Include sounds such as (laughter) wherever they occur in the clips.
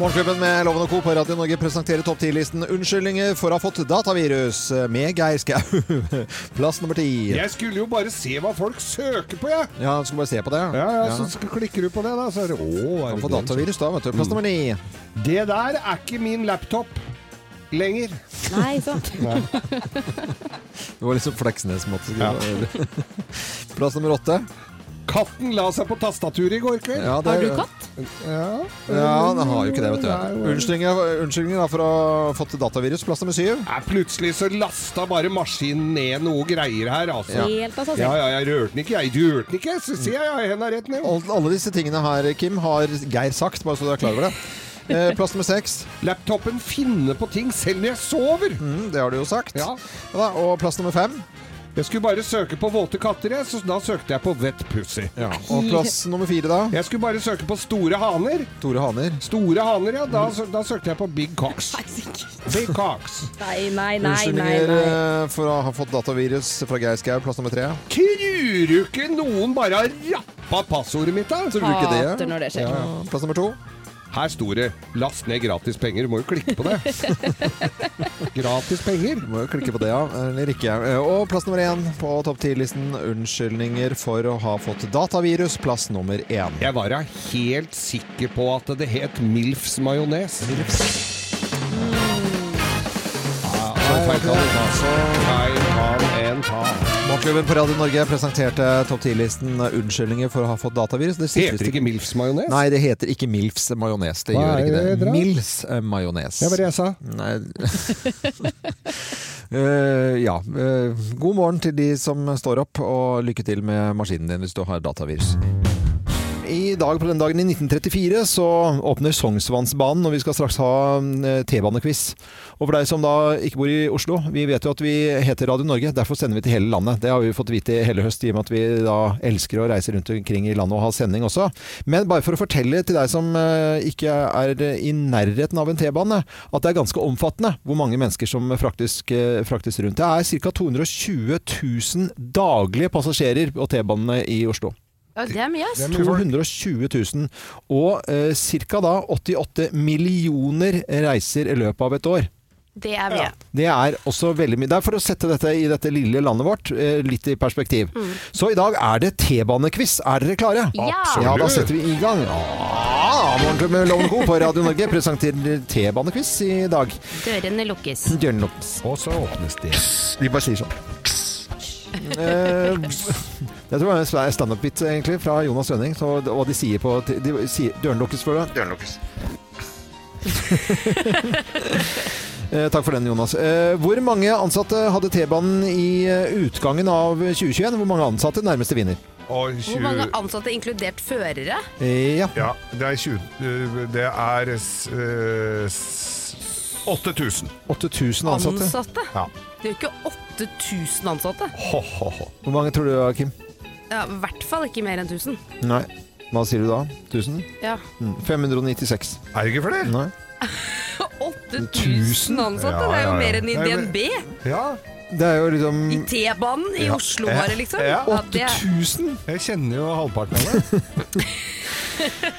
Morgenklubben med Loven og Co. på Radio Norge presenterer topp 10-listen Unnskyldninger for å ha fått datavirus med Geir Skau. (laughs) Plass nummer ti. Jeg skulle jo bare se hva folk søker på, jeg. Ja, skal bare se på det. Ja, ja, Så sk- klikker du på det, da, så er det Å, er Kan det få den som- datavirus da, vet du. Plass nummer ni. Det der er ikke min laptop lenger. Nei, så. Det var liksom Fleksnes-måte. Ja. (laughs) Plass nummer åtte. Katten la seg på tastaturet i går kveld. Ja, det- Har du katt? Ja, Ja, den har jo ikke det, vet Nei, du. nei. Unnskyldninger, unnskyldninger da for å ha fått datavirus. Plass nummer syv. Nei, plutselig så lasta bare maskinen ned noe greier her, altså. Helt av seg Ja, selv. ja, jeg rørte den ikke, jeg rørte den ikke. Så sier jeg, ja, henda rett ned. Alt- Alle disse tingene her, Kim, har Geir sagt, bare så du er klar over det. (laughs) Eh, Plass nummer seks. Laptopen finner på ting selv når jeg sover. Mm, det har du jo sagt. Ja. da, og plass nummer fem. Jeg skulle bare søke på våte katter, jeg, så da søkte jeg på wet pussy. Og plass nummer fire, da. Jeg skulle bare søke på store haner. Tore Haner. Store haner, ja. Da, sø- da søkte jeg på big cocks. Big cocks. Nei, nei, nei, nei. Unnskyldninger nei. eh, for å ha fått datavirus fra Geir Skau. Plass nummer tre. Tror du ikke noen bare har rappa passordet mitt, da? Tror du ikke det? Hater når det skjer. Plass nummer to. Her sto det 'last ned gratis penger'. Du må jo klikke på det. gratis penger? Må jo klikke på det, ja. Eller ikke. Eh, Og plass nummer én på topp ti-listen. Unnskyldninger for å ha fått datavirus. Plass nummer én. Jeg var da helt sikker på at det het Milfs majones. Ja, så feil kan du ta. Så feil kan en ta. Morgenklubben på Radio Norge presenterte topp ti-listen Unnskyldninger for å ha fått datavirus. Det Heter sikreste- ikke Milfs majones? Nei, det heter ikke Milfs majones. Det Hva gjør er ikke det det. dere har? Milfs eh, majones. Det var det jeg sa. Nei (laughs) Eh, Ja. eh, god morgen til de som står opp, og lykke til med maskinen din hvis du har datavirus. I dag på den dagen i 1934 så åpner Sognsvannsbanen, og vi skal straks ha eh, T-banekviss. Og for deg som da ikke bor i Oslo, vi vet jo at vi heter Radio Norge, derfor sender vi til hele landet. Det har vi fått vite i hele høst, i og med at vi da elsker å reise rundt omkring i landet og ha sending også. Men bare for å fortelle til deg som eh, ikke er i nærheten av en T-bane, at det er ganske omfattende hvor mange mennesker som fraktisk, eh, fraktes rundt. Det er ca. 220 000 daglige passasjerer på T-banene i Oslo. Ja, det er mye, ass. 220 000, og eh, ca. da 88 millioner reiser i løpet av et år. Det er mye. Det er også veldig mye. Det er for å sette dette i dette lille landet vårt eh, litt i perspektiv. Så i dag er det T-banekviss. Er dere klare? Ja. Absolutt. Ja, da setter vi i gang. Ah, Morgenklubben med Loven og Co. på Radio Norge presenterer T-banekviss i dag. Dørene lukkes. Gjør noe. Og så åpnes det. Vi bare sier sånn. Eh, jeg tror det er en standup-bit egentlig fra Jonas Rønning. Så, hva de sier på de sier, Døren lukkes før det. Døren lukkes. (laughs) Eh, Takk for den, Jonas. Eh, Hvor mange ansatte hadde T-banen i eh, utgangen av 2021? Hvor mange ansatte nærmeste vinner? Og 20, Hvor mange ansatte, inkludert førere? Eh, Ja. ja, det er 20 øh, Det er øh, s- 8000. 8000 ansatte. Ansatte? Ja. Det er jo ikke 8000 ansatte. Ho, ho, ho. Hvor mange tror du, Kim? Ja, I hvert fall ikke mer enn 1000. Nei. Hva sier du da? 1000? Ja. Mm, 596. Er det ikke flere? Nei. 8000 ansatte, det er jo Ja, ja, ja. mer enn i Nei, men- DNB. Ja, Det er jo liksom I T-banen i Oslo bare, liksom. Eh, Ja. Ja, det er- 8000? jeg kjenner jo halvparten av det.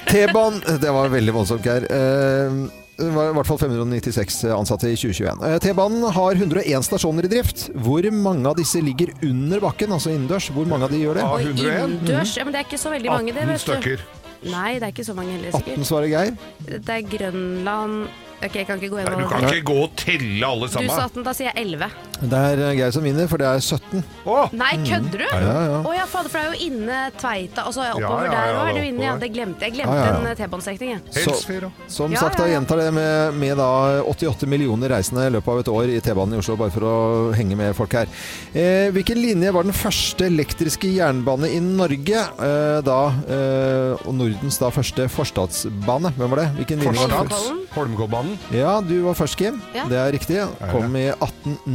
T-banen eh, Det var veldig voldsomt, Geir. Eh, Det var i hvert fall 596 ansatte i 2021. Eh, T-banen har 101 stasjoner i drift. Hvor mange av disse ligger under bakken, altså innendørs? Hvor mange av de gjør det? Av Og 101? innendørs. Ja, men det er ikke så veldig mange, det. 18 vet du. stykker. Nei, det er ikke så mange heller, 18, sikkert. svarer Geir. Det er Grønland Ok, jeg kan ikke gå Nei, Du gjennom kan ikke gå og telle alle Du sa sammen. 18, da sier jeg 11. Det er eh, Geir som vinner, for det er 17. Å! Nei, kødder du? Ja, ja. Å ja, fader, for det er jo inne Tveita, og så er jeg Ja, oppover ja, ja, der, og er det du er inne, ja. oppover. Det glemte jeg. Jeg Ja, glemte ja, ja. en eh, T-banestrekning, jeg. Helsfyr òg. Som Ja, sagt, ja, da ja. gjentar det med, med da 88 millioner reisende i løpet av et år i T-banen i Oslo, bare for å henge med folk her. Eh, hvilken linje var den første elektriske jernbane i Norge? Eh, da, eh, og Nordens da første forstadsbane. Hvem var det? Hvilken linje var det? Holmenkollen? Holmgårdbanen. Ja, du var først, Kim. Ja. Det er riktig. Kom i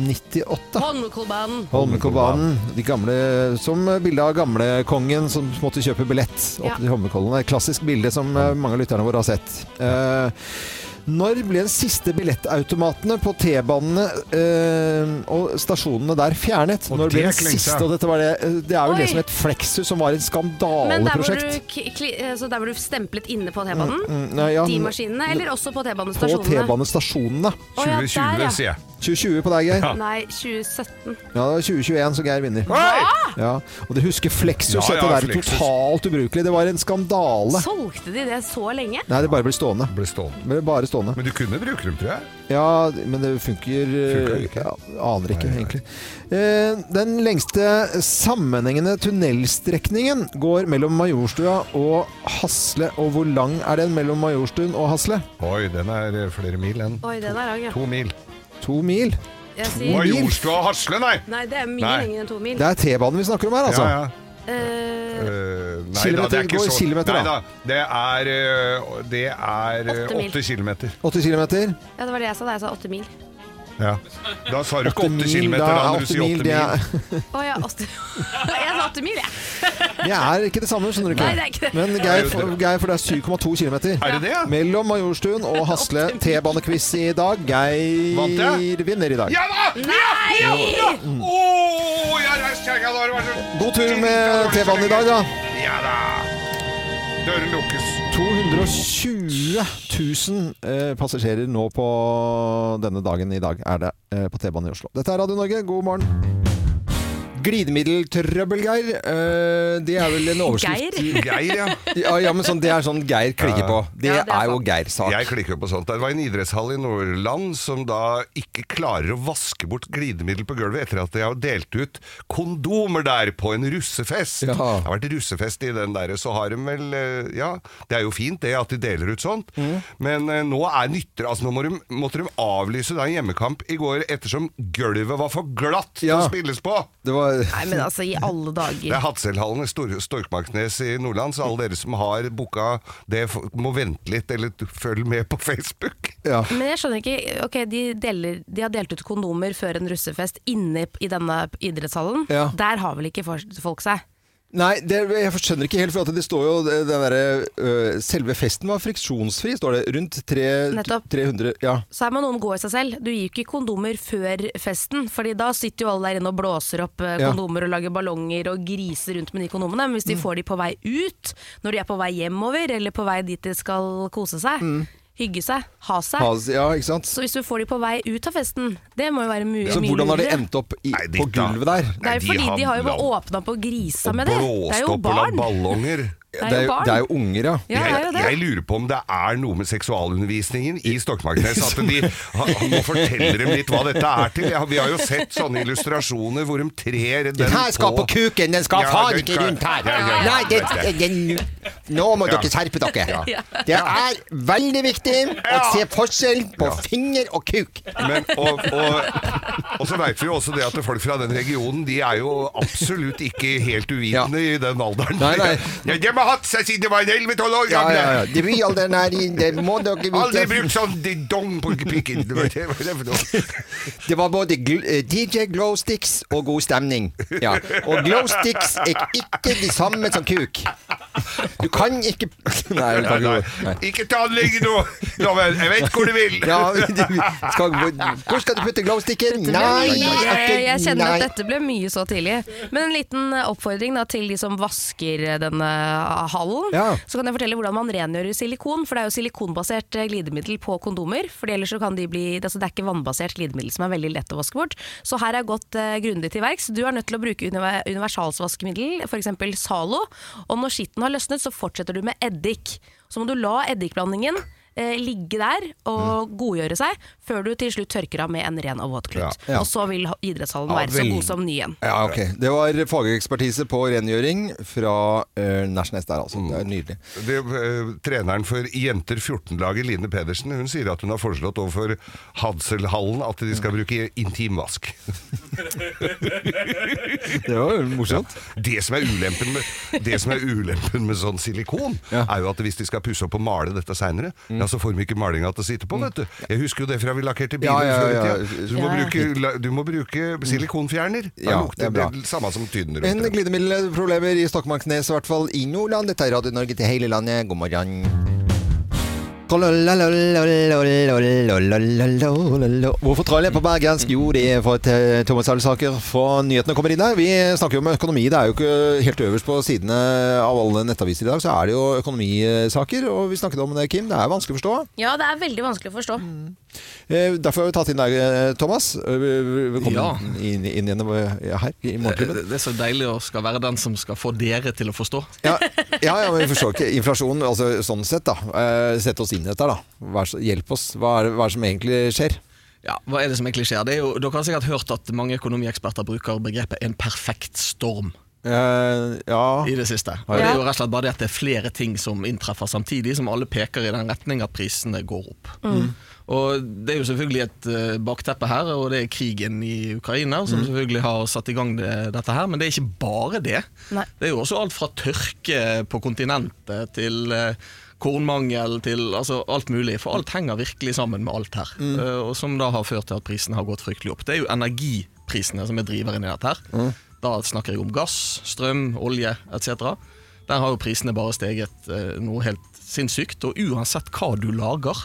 1898. Holmenkollbanen. Holmenkollbanen. De gamle, som bilde av gamlekongen som måtte kjøpe billett opp Ja. til Holmenkollen. Det er Et klassisk bilde som eh, mange av lytterne våre har sett. Eh, når ble den siste billettautomatene på T-banene eh, og stasjonene der fjernet? Og når ble det den klengte. siste? Og dette var det, eh, det er jo Oi. det som het Flexus, som var et Men der hvor, skandaleprosjekt. du, k- kli- eh, så der hvor du stemplet inne på T-banen? Mm, nei, ja, De maskinene, eller også på på T-banestasjonene? T-banestasjonene. Å ja, 2020, der, ja. sier jeg. 2020 på deg, Geir. Ja. Nei, 2017. det var 2021, så Geir vinner. Hei! Ja. Og du husker Flexus, Ja, ja, dette der Flexus. totalt ubrukelig. Det var en skandale. Solgte de det så lenge? Nei, det bare blir stående. Ble stående. Det blir bare stående. Men du kunne bruke dem, tror jeg. Ja, men det funker, eh, Funker det ikke? ja, Aner ikke, Nei, nei. egentlig. Eh, den lengste sammenhengende tunnelstrekningen går mellom Majorstua og Hasle. Og hvor lang er den mellom Majorstuen og Hasle? Oi, den er eh, flere mil enn Oi, den er lang, ja. to mil. To mil. Jeg sier Majorstua og Hasle, nei! Nei, det er mye Nei. lenger enn to mil. Det er T-banen vi snakker om her, altså. Ja, ja. Eh, Eh, nei, Kilometer, da, det er ikke gå i så- kilometer, da. Nei da, det er, eh, det er eh, Åtte mil. åtte kilometer. 80 km. ja, det var det jeg sa da jeg sa åtte mil. Ja. Da sa du ikke åtte kilometer, da da, er når du 80 sier mil. åtte Det mil. er, Å ja, åtte Jeg sa åtte mil, jeg. (laughs) det er ikke det samme, skjønner du Nei, det er ikke. ikke det. Men Geir, for, Geir, for det er 7,2 km. Er det det? ja? Mellom Majorstuen (laughs) og Hasle T-banequiz i dag. Vant Geir jeg? vinner i dag. Ja da! Nei! Åh, jeg har reist kjerringa da! det var så- God tur med T-banen i dag, da. Ja da! Døren lukkes. 220 000 eh, passasjerer nå på denne dagen i dag er det eh, på T-banen i Oslo. Dette er Radio Norge, god morgen. Glidemiddeltrøbbel, Geir. Eh, det er vel en overskrift Geir. Geir, ja. (laughs) ja, ja, men sånn, Det er sånn Geir klikker på. Det, Ja, er, det er jo sant. Geir-sak. Jeg klikker jo på sånt. Det var en idrettshall i Nordland som da ikke klarer å vaske bort glidemiddel på gulvet etter at de har delt ut kondomer der på en russefest. Ja. Det har vært russefest i den der, så har de vel eh, Ja, det er jo fint det at de deler ut sånt, Mm. men eh, nå er nytter Altså, nå må de, måtte de avlyse da en hjemmekamp i går ettersom gulvet var for glatt til Ja. å spilles på. Det var Nei, men altså, i alle Det dager. er Hatselhallen i Stor Storkmarknes i Nordland, så alle dere som har booka det, f- må vente litt, eller t- følg med på (laughs) Facebook. ja. Men jeg skjønner ikke Ok, de, deler, de har delt ut kondomer før en russefest inne i denne idrettshallen. Ja. Der har vel ikke for- folk seg? Nei, det, jeg skjønner ikke helt, for at det står jo det det derre, øh, Selve festen var friksjonsfri, står det. Rundt tre, Nettopp. 300 Ja. Så her må noen gå i seg selv. Du gir jo ikke kondomer før festen, Fordi da sitter jo alle der inne og blåser opp eh, Ja. kondomer og lager ballonger og griser rundt med de kondomene. Men hvis de får de på vei ut, når de er på vei hjemover eller på vei dit de skal kose seg, hygge seg, ha seg Has- ja, ikke sant? Så hvis du får de på vei ut av festen, det må jo være mye Så mye hvordan har det lurere. endt opp i, Nei, på ditt da. gulvet der? Det er jo Nei, fordi de har jo bare la- åpna på og grisa og med det. Det er blåst jo opp og la barn. ballonger. Det Det er jo jo- barn. det er jo unger, ja. Ja, det er jo jeg, det. jeg lurer på om det er noe med seksualundervisningen i Stokmarknes. At de ha- må fortelle dem litt hva dette er til. Ja, vi har jo sett sånne illustrasjoner hvor de trer den Den her skal på kuken, den skal Ja, faen den ikke skal- rundt her. Ja, ja, ja. Nei, det, det, nå må Ja. dere skjerpe dere. Det er veldig viktig å se forskjell på Ja. finger og kuk. Men, og, og, og så veit vi jo også det at folk fra den regionen De er jo absolutt ikke helt uvitende i den alderen. Nei, nei. Ja, de har hatt seg siden de var 11-12 år Ja, gamle! ja, ja. Det blir alderen her i, det må dere Aldri vite. brukt sånn de dong på pikken! Det var det var det for noe. Det var både gl eh, DJ Glowsticks og god stemning. Ja. Og Glowsticks er ikke de samme som kuk. Du kan ikke Nei, du Nei, nei. Ikke ta anlegget nå, Loven. Jeg vet hvor du vil. (laughs) Ja, skal, hvor skal du putte glowsticken? Dette ble Nei! mye. jeg, jeg kjenner nei. at dette ble mye så tidlig. Men en liten eh, oppfordring da, til de som vasker eh, denne hallen. Ja. Så kan jeg fortelle hvordan man rengjører silikon. For det er jo silikonbasert eh, glidemiddel på kondomer. For ellers så kan de bli, altså det er ikke vannbasert glidemiddel som er veldig lett å vaske bort. Så her er jeg gått eh, grundig til verks. Du er nødt til å bruke univer- universalsvaskemiddel, f.eks. Zalo. Og når skitten har løsnet, så fortsetter du med eddik. Så må du la eddikblandingen eh, ligge der og godgjøre seg før du til slutt tørker av med en ren og våt klut. Ja. Og så vil ha- idrettshallen Ja, være så vel- god som ny igjen. Ja, ok. Det var fagekspertise på rengjøring fra uh, Nesjnes der, altså. Det er nydelig. Det, eh, treneren for Jenter 14-laget, Line Pedersen, hun sier at hun har foreslått overfor Hadselhallen at de skal bruke intimvask. Det var morsomt. Det som er ulempen med, det som er ulempen med sånn silikon, Ja. Mm. er jo at hvis de skal pusse opp og male dette seinere, ja, så får de ikke malinga til å sitte på, vet du. Jeg husker jo det fra vi lakkerte Ja, biler ja, før i ja. tida. Så du må, Ja, ja. bruke, la- du må bruke silikonfjerner. Da Ja, det lukter er bra. det samme som tynner. Men glidemiddelproblemer i Stokmarknes, i hvert fall i Nordland. Dette er Radio Norge til hele landet. God morgen. Hvorfor traller jeg på bergensk? Jo, det er for at eh, Thomas Alsaker fra nyhetene kommer inn der. Vi snakker jo om økonomi. Det er jo ikke helt øverst på sidene av alle nettaviser i dag, så er det jo økonomisaker. Og vi snakket om det, Kim. Det er vanskelig å forstå. Ja, det er veldig vanskelig å forstå. Eh, Derfor har vi tatt inn deg, eh, Thomas. Eh, Velkommen Ja. inn, inn igjen eh, her i Det, Morgenklubben. det er så deilig å skal være den som skal få dere til å forstå. Ja, ja, ja, men vi forstår ikke. Inflasjon, altså sånn sett da. Eh, Sett oss inn i dette da. Vær så, hjelp oss. Hva er, det- hva er det som egentlig skjer? Ja, Hva er det som egentlig skjer? Det er jo, dere har sikkert hørt at mange økonomieksperter bruker begrepet 'en perfekt storm' Eh, ja. i det siste. Og det er jo rett og slett bare det at det er flere ting som inntreffer samtidig, som alle peker i den retning at prisene går opp. Og Det er jo selvfølgelig et eh, bakteppe her, og det er krigen i Ukraina som selvfølgelig har satt i gang det, dette her. Men det er ikke bare det. Nei. Det er jo også alt fra tørke på kontinentet til eh, kornmangel til altså alt mulig. For alt henger virkelig sammen med alt her. Eh, og Som da har ført til at prisene har gått fryktelig opp. Det er jo energiprisene som er driveren i dette her. Da snakker jeg om gass, strøm, olje etc. Der har jo prisene bare steget eh, noe helt sinnssykt. Og uansett hva du lager,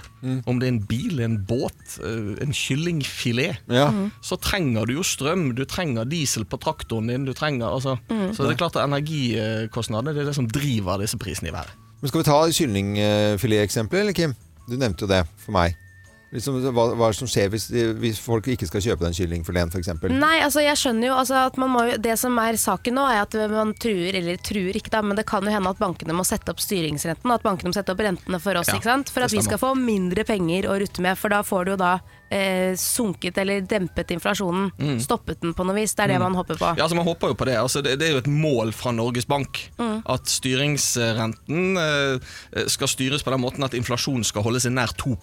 om det er en bil, en båt, eh, en kyllingfilet, Ja. så trenger du jo strøm. Du trenger diesel på traktoren din. Du trenger, altså, Så det er klart at energikostnadene det er det som driver disse prisene i været. Men skal vi ta kyllingfilet-eksempelet, eller Kim? Du nevnte jo det for meg. Liksom, hva, hva er det som skjer hvis, hvis folk ikke skal kjøpe den kyllingfileten for eksempel? Nei, altså jeg skjønner jo altså, at man må jo, Det som er saken nå, er at man truer, eller truer ikke, da, men det kan jo hende at bankene må sette opp styringsrenten, og at bankene må sette opp rentene for oss, Ja, ikke sant? For det at vi stemmer. skal få mindre penger å rutte med, for da får du jo da eh, sunket eller dempet inflasjonen. Stoppet den på noe vis. Det er det man håper på. Mm. Ja, altså Man håper jo på det. Altså, det. Det er jo et mål fra Norges Bank Mm. at styringsrenten eh, skal styres på den måten at inflasjonen skal holde seg nær 2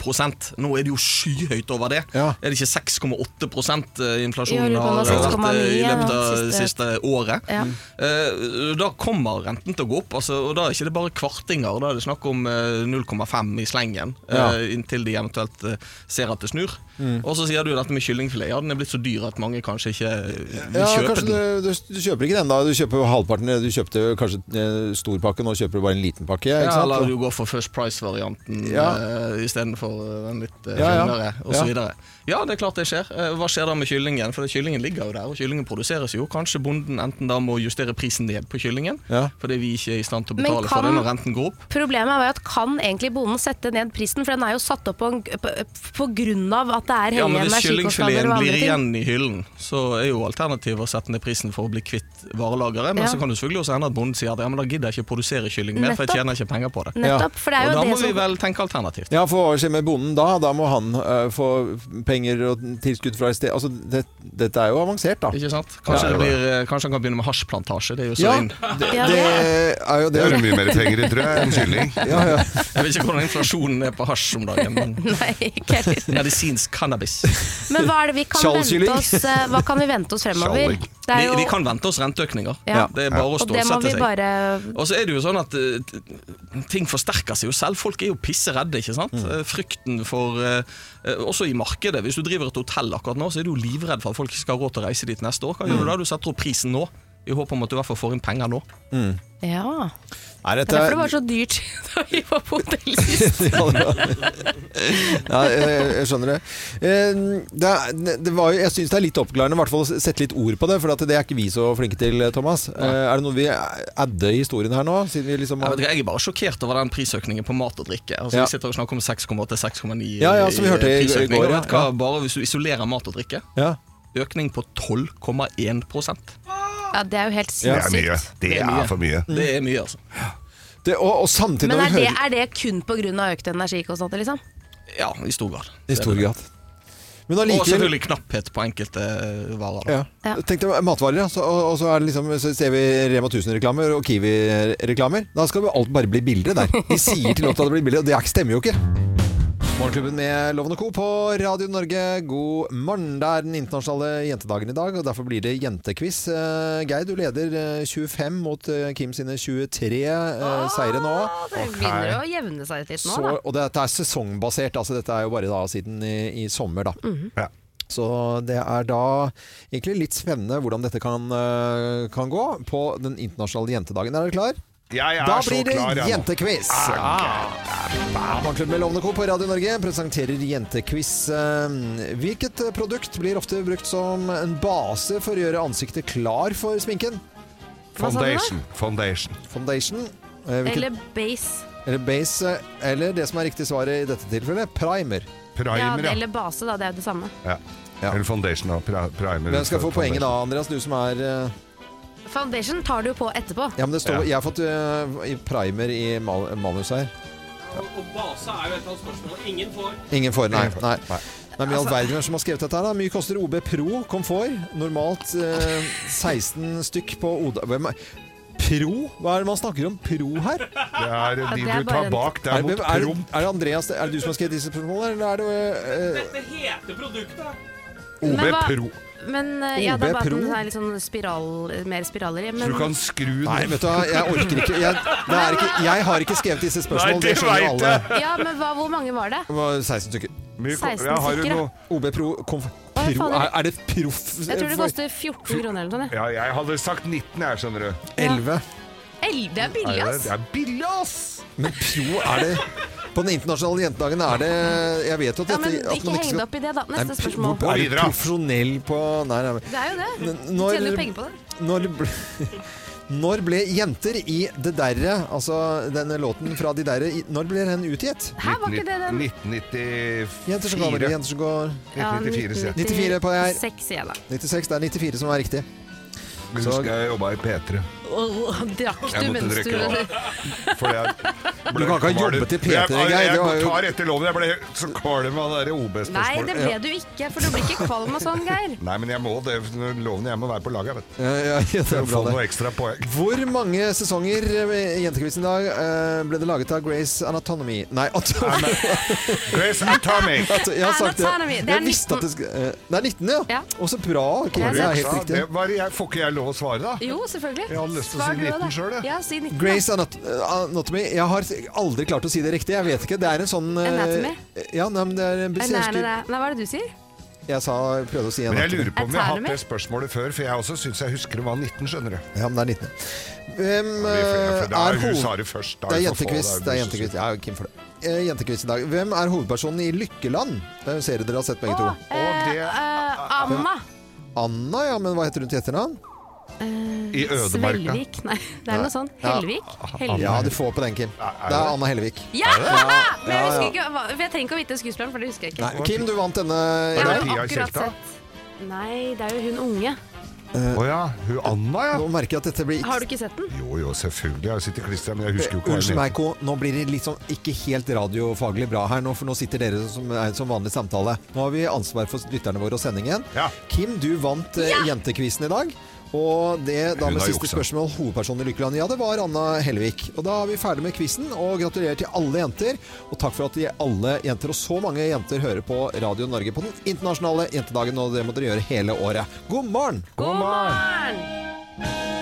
Nå er det jo skyhøyt over det. Ja. Er det ikke 6,8 eh, Jo, inflasjonen det har var vært eh, i 6,9, løpet ja, av siste- siste året? Ja. Eh, Da kommer renten til å gå opp, altså, og da er ikke det bare kvartinger. Da er det snakk om eh, 0,5 i slengen, eh, Ja. Mm. inntil de eventuelt eh, ser at det snur. Og så sier du jo dette med kyllingfilet. Ja, den er blitt så dyr at mange kanskje ikke eh, vil Ja, kjøpe kanskje den. du, du, du kjøper ikke den da. Du kjøper jo halvparten. Du kjøpte kanskje eh, stor pakke, nå kjøper du bare en liten pakke. Ikke Ja, sant? eller du går for First Price-varianten ja. Ja. istedenfor eh, den litt Ja, uh, ja. sunnere, og Ja. så videre. Ja, det er klart det skjer. Eh, hva skjer da med kyllingen? For kyllingen ligger jo der, og kyllingen produseres jo. Kanskje bonden enten da må justere prisen ned på kyllingen, Ja. fordi vi ikke er i stand til å Men betale for kan- det når renten går opp. Problemet er jo at kan egentlig bonden sette ned prisen, for den er jo satt opp på, en, eh, på, på grunn av at det er Ja, høye men Hvis energikostnader kyllingfileten blir og andre ting. igjen i hyllen, så er jo alternativet å sette ned prisen for å bli kvitt varelageret. Men Ja. så kan det selvfølgelig også hende at bonden sier at ja, men da gidder jeg ikke å produsere kylling mer, for Nettopp. jeg tjener ikke penger på det. Nettopp, for det er Og da jo må det vi som vel tenke alternativt. Ja, for hva skjer med bonden da? Da må han eh, få penger og tilskudd fra et sted. Altså, det, dette er jo avansert, da. Ikke sant? Ja. Kanskje, det blir, eh, kanskje han kan begynne med hasjplantasje. Det er jo så Ja, inn. det, Ja, det det er jo Det det. er det mye mer penger i, tror jeg, enn kylling. (laughs) Ja, ja. Jeg vet ikke hvordan inflasjonen er på hasj om dagen, men (laughs) Nei, ikke heller. (laughs) medisinsk cannabis. Men hva er det vi kan Skjallkylling. vente oss eh, Hva kan vi vente oss fremover? Skjallegg. Det Vi, er jo, vi kan vente oss renteøkninger. Ja. Det er bare å og det må stålsette vi seg. bare Og så er det jo sånn at eh, t- ting forsterker seg jo selv. Folk er jo pisseredde, ikke sant. Eh, Frykten for eh, eh, Også i markedet. Hvis du driver et hotell akkurat nå, så er du jo livredd for at folk ikke skal ha råd til å reise dit neste år. Hva gjør du da? Du setter opp prisen nå. I håp om at du i hvert fall får inn penger nå. Ja. Nei, Det er dette derfor det (laughs) var så dyrt (laughs) da vi var på hotell sist. ja, jeg, jeg skjønner det. Eh, det, er- det var, jo- jeg syns det er litt oppklarende i hvert fall å sette litt ord på det, for at det er ikke vi så flinke til, Thomas. Eh, er det noe vi adder i historien her nå? Siden vi liksom Jeg, vet har, ikke, jeg er bare sjokkert over den prisøkningen på mat og drikke. Altså, Ja. Vi sitter og snakker om 6,8-6,9 Ja, ja, som vi hørte i- i prisøkning. går, Og ja, vet du hva, ja. Bare hvis du isolerer mat og drikke, ja. økning på 12,1 (laughs) Ja, det er jo helt Det er mye. sinnssykt. Det er for mye. Mm. Det er mye, altså. Det, og, og samtidig Men når er vi det, hører er det kun pga. økte energikostnader, liksom? Ja, i stor grad. I stor grad. Men Og allikevel selvfølgelig knapphet på enkelte eh, varer. Da. ja. Ja. Tenk deg matvarer, ja. så, og, og så, er det liksom, så ser vi Rema 1000-reklamer og Kiwi-reklamer. Da skal jo alt bare bli billigere der. De sier til oss at det blir billigere, og det er- stemmer jo ikke. Morgenklubben med Loven og Co. på Radio Norge, god morgen. Det er den internasjonale jentedagen i dag, og derfor blir det jentekviss. Eh, Geir, du leder eh, 25 mot eh, Kim sine 23 eh, seire nå. Å, Det begynner å jevne seg ut litt nå, Så, da. og dette er sesongbasert, altså dette er jo bare da siden i, i sommer, Mm. da. Ja. Så det er da egentlig litt spennende hvordan dette kan, eh, kan gå på den internasjonale jentedagen. Er dere klar? Jeg er Da så blir det klar, jeg nå. jentekviss! Morgenklubben med Lovende Co. på Radio Norge presenterer jentekviss. Eh, Hvilket produkt blir ofte brukt som en base for å gjøre ansiktet klar for sminken? Hva sa du da? Foundation. Foundation. Foundation. eh, hvilket- Eller base. eller base, eh, eller det som er riktig svaret i dette tilfellet, primer. Ja, Primer, ja. eller base, da. Det er jo det samme. ja. Ja. Eller foundation og pri- primer. Hvem skal få poenget da, Andreas? Du som er eh, Foundation tar du jo på etterpå. Ja, men det står Ja. Jeg har fått eh, i primer i mal manus her. Og base er jo et av spørsmålene ingen får. Ingen får, nei. nei. Nei. Det er mye all verden hvem som har skrevet dette her. da. Mye koster OB Pro komfort. Normalt eh, 16 stykk på Oda... Hvem er Pro? Hva er det man snakker om? Pro her? Er, Det er de det er du bare tar en- bak. Det er det- mot er, det- promp. er det Andreas Er det du som har skrevet disse spørsmålene, eller er det eh, Dette heter produktet. OB Men hva- Pro. Men eh, ja, OB det er bare at Pro? den er litt sånn spiral, mer spiraler i. Så Men du kan skru den Nei, eh, vet du hva, jeg orker ikke. Jeg, det er ikke jeg har ikke skrevet disse Nei, spørsmålene, det det skjønner jo vet alle. Ja, men hva, hvor mange var det? Det var 16 stykker. Mye ko- 16 Ja, har du stykker, noe- OB Pro komf... Hva Pro faen er, er- er det proff Jeg tror det koster 14 kroner eller noe sånt. Ja, jeg hadde sagt 19 her, skjønner du. 11. jeg. Ell- Det er billig, Er det- ass! Det er billig, ass! Men pro er det På den internasjonale jentedagen er det Jeg vet jo at Ja, dette men at ikke man heng skal- deg opp i det, da. Nei, Neste pro- spørsmål. hvor- Er Gå du videre. profesjonell på Nei, nei. men- Det er jo det. N- Du tjener jo penger på det. når, ble- (laughs) når ble jenter i Det derre, altså denne låten fra De derre, i- når ble den utgitt? Hæ, var ikke det den 1994. Jenter som kommer, jenter som går Ja, 1994, sier jeg. 94 på jeg. 96 sier jeg da. 96, det er 94 som er riktig. Men husker jeg jobba i P3. Åh, Drakk Jeg du måtte mens du drikke vann. For jeg ble Du kan ikke ha kvalm. jobbet i P3, Jeg- Jeg, Geir, jeg, det var jo- tar etter loven. Jeg ble så kvalm av det der Nei, OB-spørsmålet. det ble du ikke, for du blir ikke kvalm og sånn, Geir. Nei, men jeg må det. Loven jeg må være på laget, vet du. Ja, ja, (laughs) ja, det For er å få bra det. noe ekstra poeng. Hvor mange sesonger eh, i Jentekvisten i dag eh, ble det laget av Grace Anatomy Nei, (laughs) Anatomy Grace Atomic. Altså, jeg har sagt det. Anatomy. Det er jeg visste at det, sk- eh, det er 19, ja. Ja. Og så bra. Kim. Ja, det er helt Ja, riktig. det var, jeg, får ikke jeg lov å svare, da? Jo, selvfølgelig. Jeg hadde lyst til å Svar si du også, 19 da. selv, jeg. Ja, si 19. da. Grace Anat eh, Anatomy. Jeg har aldri klart å si det riktig. Jeg vet ikke. Det er en sånn eh, Anatomy? Ja, nei, men det er en Nei, nei, besøker... nei. nei, hva er det du sier? Jeg sa, prøvde å si Men jeg Anatomy. lurer på om jeg har hatt Atomic? det spørsmålet før, for jeg også syns jeg husker det var 19, skjønner du. Ja, men det er 19. Hvem Det eh, er fordi- for da er er hun hoved... sa det først. da Det er så få, jentekviss. da Det er jo jentekviss. Ja, Kim for det. Eh, Jentekviss i dag. Hvem er hovedpersonen i Lykkeland? Det er en serie dere har sett begge Å, to. eh, det- eh, Anna Anna, ja, men hva heter hun til etternavn? I ødemarka. Svelvik. Eh, Nei, det er noe sånn. Ja. Helvik? Helvik. Ja, du får på den, Kim. Det er Anna Hellevik. Ja! Men jeg, Ja, husker ja. ikke, hva- for jeg trenger ikke å vite skuespilleren, for det husker jeg ikke. Nei, Kim, du vant denne i Jeg dag. har jo Pia akkurat Kjelta? sett Nei, det er jo hun unge. Å ja. Hun Anna, ja. Nå merker jeg at dette blir Har du ikke sett den? Jo jo, selvfølgelig. Jeg sitter klistra, men jeg husker jo ikke Unnskyld hva meg, Ko. Nå blir det litt sånn ikke helt radiofaglig bra her nå, for nå sitter dere som er som vanlig samtale. Nå har vi ansvar for lytterne våre og sendingen. Ja. Kim, du vant eh, jentekvisten i dag. Og det da Hun med har siste juksa. spørsmål, hovedpersonen i Lykkeland, ja, det var Anna Hellevik. Og da er vi ferdig med quizen, og gratulerer til alle jenter. Og takk for at de alle jenter, og så mange jenter, hører på Radio Norge på den internasjonale jentedagen, og det må dere gjøre hele året. God morgen! God morgen!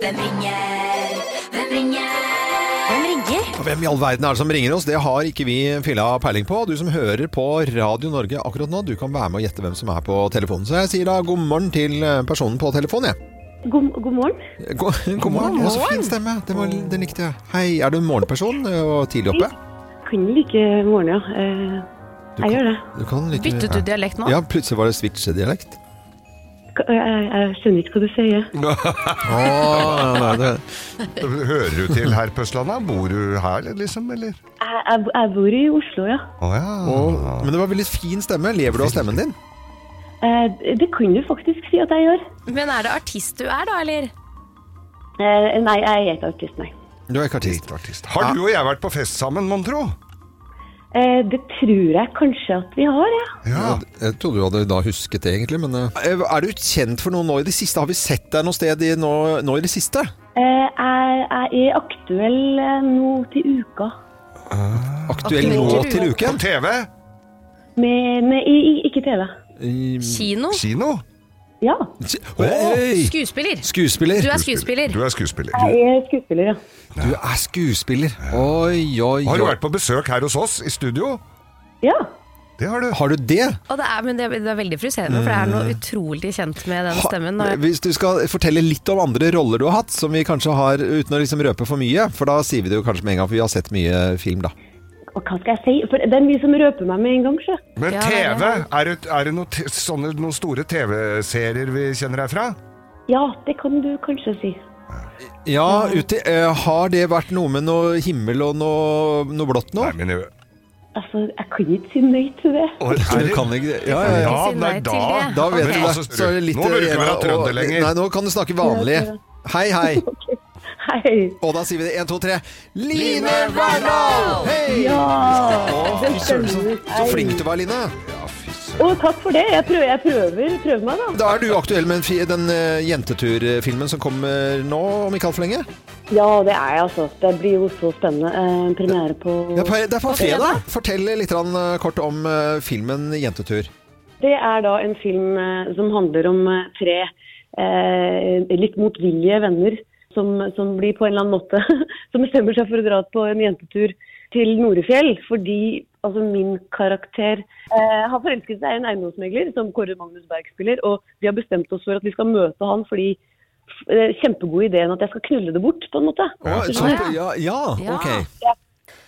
Hvem ringer? Hvem ringer? Hvem ringer? Og Hvem i all verden er det som ringer oss? Det har ikke vi filla peiling på. Du som hører på Radio Norge akkurat nå, du kan være med og gjette hvem som er på telefonen. Så jeg sier da god morgen til eh, personen på telefonen, jeg. God, god morgen. God, (laughs) god, morgen. Ja, så fin stemme. Det, var, det likte jeg. Hei, er du en morgenperson eh, og tidlig oppe? Kan like morgen, ja. Eh, Du jeg gjør det. Du kan like, Byttet du dialekt nå? Ja, plutselig var det switchedialekt. K- Jeg, jeg skjønner ikke hva du sier. Oh, nei, det, hun Hører du til her på Østlandet? Bor du her, liksom, eller? Jeg, jeg, jeg bor i Oslo, ja. Å ja. Ah. og, men det var veldig fin stemme. Lever du av stemmen din? Eh, det kan du faktisk si at jeg gjør. Men er det artist du er, da, eller? Eh, nei, jeg er ikke artist, nei. Du er ikke artist. Har du og jeg vært på fest sammen, mon tro? Eh, det tror jeg kanskje at vi har, ja. Ja. Jeg trodde du hadde da husket det, egentlig, men eh, Eh, Er du kjent for noe nå i det siste? Har vi sett deg noe sted i, nå, nå i det siste? Eh, jeg, jeg er aktuell eh, nå til uka Aktuell Aktuell nå til til På uken? TV? med, med i, i, Ikke TV. Kino? Mm. Kino? Ja, Oi! Skuespiller. Skuespiller. Du er skuespiller. Du er skuespiller. jeg er skuespiller, ja. Du er skuespiller. Oi, oi, Har du oi. vært på besøk her hos oss i studio? Ja, Det har du. Har du det? Og det er, men det, det er veldig frustrerende, for det er Mm. noe utrolig kjent med den stemmen. Ha- Og Hvis du skal fortelle litt om andre roller du har hatt, som vi kanskje har uten å liksom røpe for mye, for da sier vi det jo kanskje med en gang, for vi har sett mye film, da. og hva skal jeg si? For det er mye som røper meg med en gang, sjø. Men Ja, det er TV, er det, er det noen, t- sånne, noen store TV-serier vi kjenner deg fra? Ja, det kan du kanskje si. Ja, uti, eh, har det vært noe med noe himmel og noe, noe blått nå? Nei, men jeg- Altså, jeg kan ikke si nei til det. Å, er Du det- kan ikke det? Ja, ja, ja. Ja, Si nei, nei da, til det. Da vet du Men det. altså, Så er det litt Nå bør du ikke igjen være å- trønder lenger. Nei, nå kan du snakke vanlig. Hei, hei. Ok. Hei. Og da sier vi det. Én, to, tre. Line Verdal! Hei! Ja, det stemmer. Så flink du var, Line. Å, takk for det. Jeg prøver, jeg prøver, prøver meg, da. Da er du aktuell med en fi- den eh, jenteturfilmen som kommer nå, om ikke altfor lenge. Ja, det er jeg, altså. Det blir jo så spennende. Eh, premiere på Det er på, det er på fredag. Fortell litt grann, eh, kort om eh, filmen 'Jentetur'. Det er da en film eh, som handler om eh, tre eh, litt motvillige venner som, som blir på en eller annen måte (laughs) Som bestemmer seg for å dra på en jentetur til Norefjell fordi altså min karakter eh, har forelsket seg i en eiendomsmegler som Kåre Magnus Berg spiller, og vi har bestemt oss for at vi skal møte han fordi eh, Kjempegod ideen at jeg skal knulle det bort, på en måte. Skjønner du? ja, Ja. ok.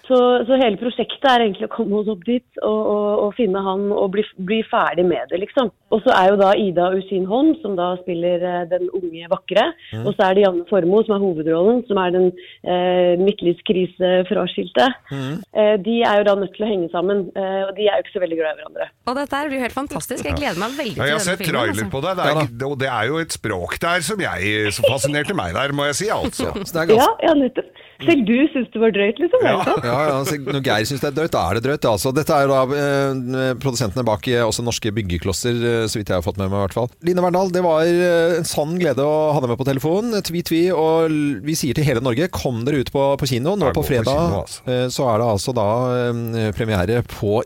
Så, så hele prosjektet er egentlig å komme oss opp dit og, og, og finne han og bli, bli ferdig med det, liksom. Og så er jo da Ida Usin Holm, som da spiller eh, den unge vakre. Mm. Og så er det Janne Formoe, som er hovedrollen, som er den eh, midtlivskrise-fraskilte. Mm. Eh, de er jo da nødt til å henge sammen, eh, og de er jo ikke så veldig glad i hverandre. Og dette her blir jo helt fantastisk. Jeg gleder meg Ja, veldig til jeg har denne sett filmen. trailer altså. på deg, det er, det- og det er jo et språk der som, jeg, som fascinerte meg der, må jeg si, altså. Så det er Ja, ganske ja, nettopp. Selv du syns det var drøyt, liksom? er det sant? ja, ja, så Når Geir syns det er drøyt, da er det drøyt. Altså, dette er jo da eh, produsentene bak eh, også norske byggeklosser, eh, så vidt jeg har fått med meg i hvert fall. Line Verndal, det var eh, en sann glede å ha deg med på telefon. Tvi, tvi. Og l- vi sier til hele Norge, kom dere ut på, på kino. Nå Jeg på går på fredag kino, altså. eh, så er det altså da eh, premiere på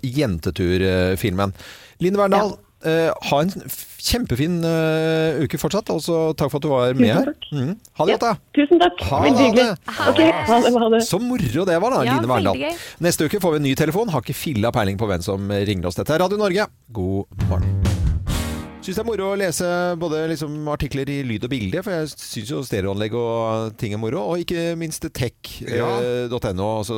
Jentetur-filmen. Line Verndal, eh, ha en f- kjempefin eh, uke fortsatt, og så takk for at du var med her. takk. Mm. Ha det godt, da. Tusen takk. Ha Veldig hyggelig. det. Ok, ha det. Ha det. Så moro det var, da. Ja, Line Verndal. veldig gøy. Neste uke får vi en ny telefon. Har ikke filla peiling på hvem som ringer oss. Dette er Radio Norge. God morgen. Syns det er moro å lese både liksom artikler i lyd og bilde, for jeg syns jo stereoanlegg og ting er moro. Og ikke minst eh, tech.no, Ja. altså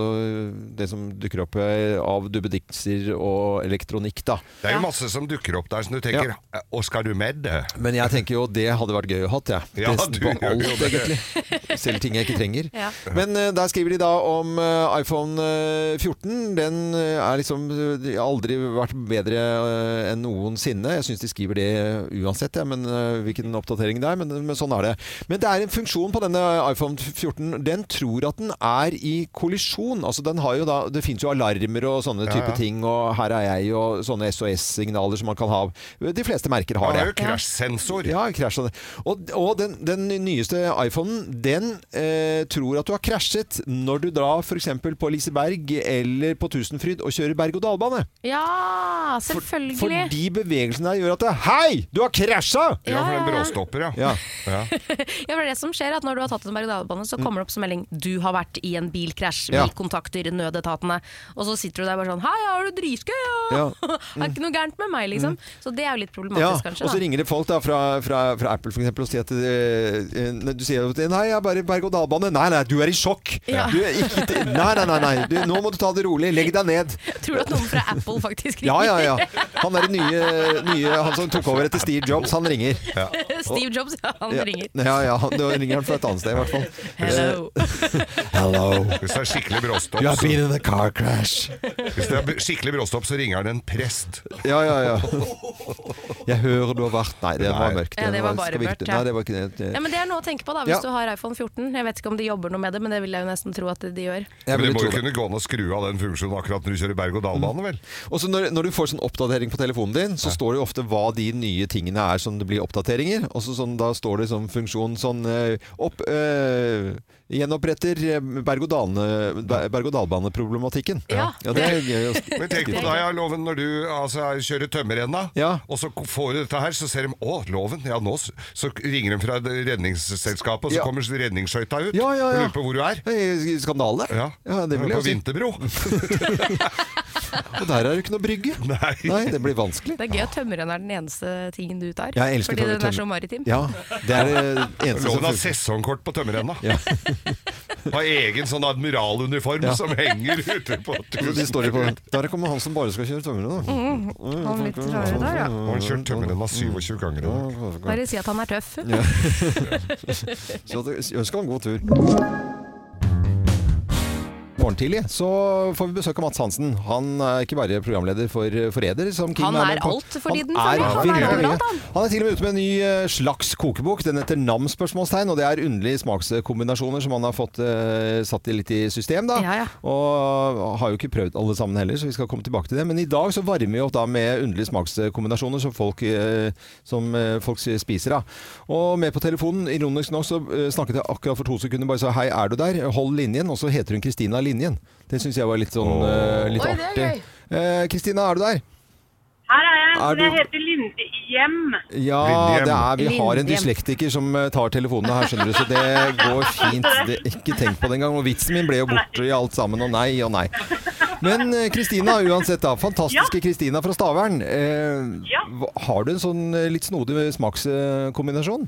det som dukker opp eh, av dubbedikser og elektronikk, da. Det er jo masse som dukker opp der som du tenker, Oskar, du med det? Men jeg tenker jo det hadde vært gøy å hatt, jeg. Ja, Best du på gjør alt, jo det. egentlig. Selv ting jeg ikke trenger. Ja. Men eh, der skriver de da om eh, iPhone eh, 14. Den eh, er liksom eh, de har aldri vært bedre eh, enn noensinne. Jeg syns de skriver det uansett, ja, men eh, hvilken oppdatering det er. Men, men sånn er det. Men det er en funksjon på denne iPhone 14. Den tror at den er i kollisjon. Altså, den har jo da, det fins jo alarmer og sånne type ting, og her er jeg, og sånne SOS-signaler som man kan ha. De fleste merker har Han det. er jo krasjsensor. Ja, krasja det. Og, og den, den nyeste iPhonen, den eh, tror at du har krasjet når du drar f.eks. på Liseberg eller på Tusenfryd og kjører berg-og-dal-bane. Ja, selvfølgelig. Fordi bevegelsen der gjør at det, Hei, du har krasja! Ja, for den Ja, ja, ja. bråstopper, ja. Ja. Ja, for det er det som skjer at Når du har tatt en berg-og-dal-bane, så kommer det opp som melding 'du har vært i en bilkrasj', Mm. Ja. vi kontakter nødetatene. Og så sitter du der bare sånn 'hei, har du dritgøy?' Ja. Ja. (laughs) Mm. er ikke noe gærent med meg, liksom. Så det er jo litt Ja, problematisk, kanskje. og så da. ringer det folk da fra, fra, fra Apple for eksempel og sier at eh, eh, Du sier at 'nei, jeg er bare i berg-og-dal-bane'. Nei, nei, du er i sjokk! Ja. Du er ikke, nei, nei, nei, nei. Du, nå må du ta det rolig. Legg deg ned. Tror du at noen fra Apple (laughs) faktisk ringer? Ja, ja, ja. Han er den nye, nye Han som tok over etter Steve Jobs, han ringer. Steve Jobs, ja, han Ja, ringer. ja, ja, da ringer han fra et annet sted i hvert fall. (laughs) (laughs) Hello. Hello. Hvis det er skikkelig bråstopp, You have så, been in a car crash. hvis det er skikkelig bråstopp, så ringer han en prest. Ja, ja, ja. Jeg hører du har vært Nei, det var mørkt. Ja, det var bare skal vi ikke- mørkt, ja. Nei, det var ikke det. Ja, men det er noe å tenke på da, hvis Ja. du har iPhone 14. Jeg vet ikke om de jobber noe med det, men det vil jeg jo nesten tro at de gjør. Jeg Men ville det må tro jo det. kunne gå an å skru av den funksjonen akkurat når du kjører berg-og-dal-bane, vel? Og så når, når du får sånn oppdatering på telefonen din, så står det jo ofte hva de nye tingene er som det blir oppdateringer. Og så sånn, da står det som funksjon sånn eh, opp, eh, Gjenoppretter eh, berg-og-dal-bane- ber- berg-og-dal-bane-problematikken. Ja. det (laughs) er gøy. å- Men tenk på deg, ja, Loven, når du altså, er- kjører tømmerrenna, Ja. og så får du dette her, så ser de Å, Loven, ja nå s- Så ringer de fra redningsselskapet, og så Ja. kommer redningsskøyta ut. Ja, ja, ja. Og lurer på hvor du er. Hey, Skandale. Ja, det vil jeg på si. Vinterbro. (laughs) Og der er det ikke noe brygge. Nei. Nei, det blir vanskelig. Det er gøy at tømmerrenn er den eneste tingen du tar. Jeg elsker fordi tømmer- den er så tømmer- maritim. Ja, det er det (laughs) eneste (laughs) Loven som har sesongkort på tømmerrenna. Ja. (laughs) Har egen sånn admiraluniform Ja. som henger (laughs) ute på Så tusen. de står jo på (laughs) Mhm. Der kommer han som bare skal kjøre tømmerrenn, da. Han litt rare der, ja. Og han kjørt tømmerrenna 27 ganger. i dag. Bare si at han er tøff. Så det- jeg ønsker ham god tur. Morgen tidlig så får vi besøk av Mats Hansen. Han er ikke bare programleder for eh, Forræder. som Kim Han med er på. alt for tiden, Han er, føler jeg. Han er veldig overalt, mye. han er til og med ute med en ny eh, slags kokebok. Den heter Nam? spørsmålstegn, og det er underlige smakskombinasjoner som han har fått eh, satt i litt i system. da. Ja, ja. Og har jo ikke prøvd alle sammen heller, så vi skal komme tilbake til det. Men i dag så varmer vi opp da med underlige smakskombinasjoner som folk, eh, som eh, folk spiser av. Og med på telefonen, ironisk nok, så eh, snakket jeg akkurat for to sekunder, bare sa hei, er du der? Hold linjen. Og så heter hun Kristina Linjen. Det syns jeg var litt sånn eh, litt Oi, det er artig. Eh, gøy. Kristina, er du der? Her er jeg. Er men Jeg du- heter Lindhjem. Ja, Lindhjem. det er, vi har en Lindhjem. dyslektiker som eh, tar telefonene her, skjønner du, så det går fint. Det, ikke tenk på det engang. Og vitsen min ble jo borte i alt sammen, og nei og nei. Men eh, Kristina, uansett da. Fantastiske Kristina fra Stavern. Eh, Ja. hva- har du en sånn eh, litt snodig smakskombinasjon?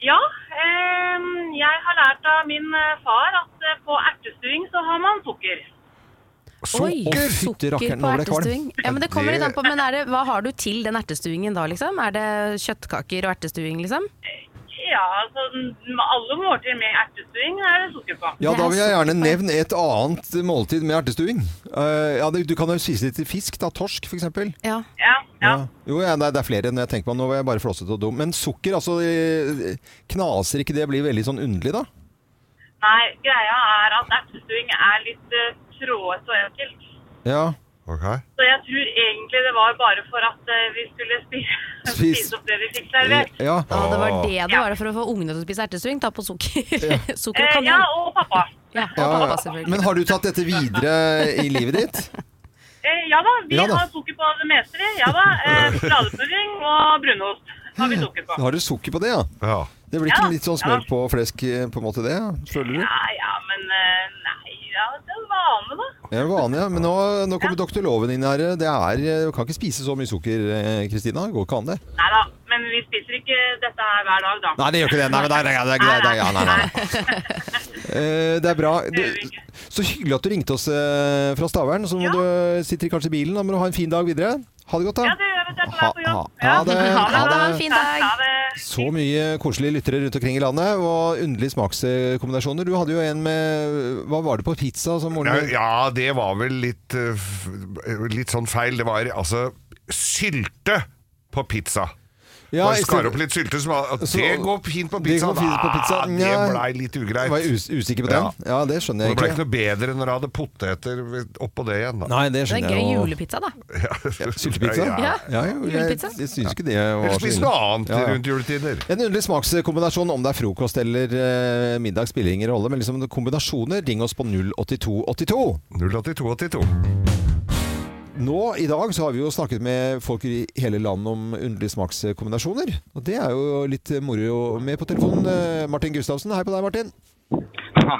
Ja, ehm, jeg har lært av min eh, far at eh, på ertestuing så har man sukker. Oi, Å, fytti sukker på rakkeren, nå ble jeg kvalm. ertestuing. Ja, men det kommer Det- litt an på, men er det, hva har du til den ertestuingen da, liksom? Er det kjøttkaker og ertestuing, liksom? Ja, altså m- alle måltider med ertestuing er det sukker på. Ja, Det da er vil jeg så gjerne feil. nevne et annet måltid med ertestuing. Eh, ja, det, du kan jo spise litt fisk, da. Torsk, for eksempel. Ja. Ja, ja. Ja. Jo, ja, det er- det er flere enn jeg tenker på. Nå var jeg bare flåsete og dum. Men sukker, altså eh, Knaser ikke det? Blir veldig sånn underlig, da? Nei, greia er at ertestuing er litt uh, trådete og enkelt. Ja. Ok. Så jeg tror egentlig det var bare for at eh, vi skulle (laughs) spise, Spis. spise opp det vi fikk servert. Ja. Ja, det Ah. var det det var for å få ungene til å spise ertestuing. Ta på sukker. (laughs) sukker og Eh, ja, kanel. og pappa. Ja, og Ja, pappa selvfølgelig. men har du tatt dette videre i livet ditt? Eh, ja da, vi Ja da. har sukker på det meste. vi. Ja da, eh, Sjokoladepudding og brunost har vi sukker (laughs) på. Har du sukker på det, ja? Ja. Det blir ikke Ja. litt sånn smør på flesk, eh, på en måte det? ja? Føler du? Ja, ja, men eh, nei, ja, det er vane, da. Det er vanlig, ja. Men nå, nå kommer doktor Loven inn her. Det er, eh, du kan ikke spise så mye sukker, eh, Kristina. Det Går ikke an, det. Nei da, men vi spiser ikke dette her hver dag, da. Nei, det gjør ikke det. Nei, men det er, det er, det er, greit. det er, ja, nei, nei, (laughs) nei. Eh, det er bra. Du, så hyggelig at du ringte oss eh, fra Stavern. Så må Ja. du eh, sitter kanskje i bilen. Da må du ha en fin dag videre. Ha det godt, da. Ja, det gjør vi. Det er på vei på jobb. Ha- ha- ha det. Ja, eh, Ha det var det. en fin dag. Ha det. Så mye koselige lyttere rundt omkring i landet, og underlige smakskombinasjoner. Du hadde jo en med Hva var det på pizza som moren Ja, ja, det var vel litt, eh, f- litt sånn feil. Det var altså sylte på pizza. Ja, Bare i skar stedet- opp litt sylte. Som, var- Så- det går fint på Det pizza. går fint på pizza. Ah, det Nja. blei litt ugreit. Var jeg us usikker på den? Ja. Ja, det skjønner Det jeg ble ikke ikke. noe bedre når jeg hadde poteter oppå det igjen. Da. Nei, det Det er skjønner gøy jeg jo. julepizza, da. Syltepizza? Ja, ja. Ja, jo, jeg, Julepizza? jeg syns ikke det var Eller så spis ille. noe annet Ja, ja. rundt juletider. En underlig smakskombinasjon, om det er frokost eller eh, middag, spiller ingen rolle. Men liksom kombinasjoner, ring oss på 08282. 08282. Nå i dag så har vi jo snakket med folk i hele landet om underlige smakskombinasjoner. Og det er jo litt moro med på telefonen. eh, Martin Gustavsen, hei på deg, Martin.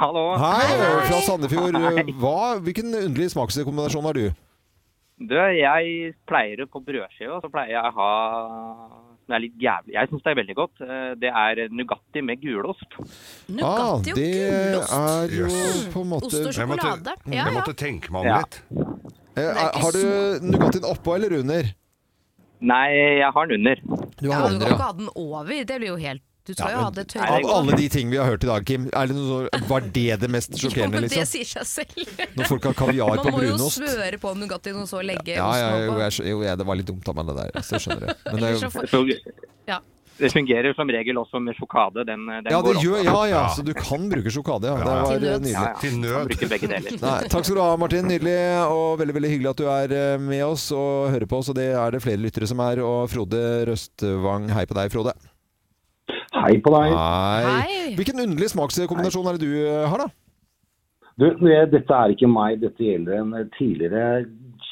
Hallo. Hei, eh, fra Sandefjord. Hva, hvilken underlig smakskombinasjon har du? Du, jeg pleier på brødskiva, så pleier jeg å ha som er litt jævlig. Jeg syns det er veldig godt. Eh, Det er Nugatti med gulost. Nugatti Ah, og det gulost. er jo Yes. på en Ost og måte Jeg måtte, sjokolade. Ja, jeg ja. måtte tenke meg om Ja. litt. Eh, er- Har du Nugattien oppå eller under? Nei, jeg har den under. Du Ja, har du kan andre, ikke ha den over. Det blir jo helt Du skal Ja, jo ha men- det Er tørre. Av alle de ting vi har hørt i dag, Kim, er det noe, var det det mest Ja, men sjokkerende, det liksom? sier seg selv. Når folk har kaviar Man på må jo brunost? smøre på Nugattien og så legge Ja, ja, osten jo, oppå. jeg, skjø- jo jeg, det var litt dumt av meg, det der. Så jeg skjønner det. Men det Eller er så jo får- Det fungerer, Ja. det fungerer som regel også med sjokade. Den, eh, den ja, det går gjør, ja, ja, så du kan bruke sjokade. Ja. Det var eh, nydelig. Ja, ja. Til nød. Man Bruker begge deler. Nei, takk skal du ha, Martin. Nydelig og veldig veldig hyggelig at du er eh, med oss og hører på oss. Og det er det flere lyttere som er. Og Frode Røstvang, hei på deg, Frode. Hei på deg. Hei. Hvilken underlig smakskombinasjon er det du eh, har, da? Du, det- dette er ikke meg, dette gjelder en eh, tidligere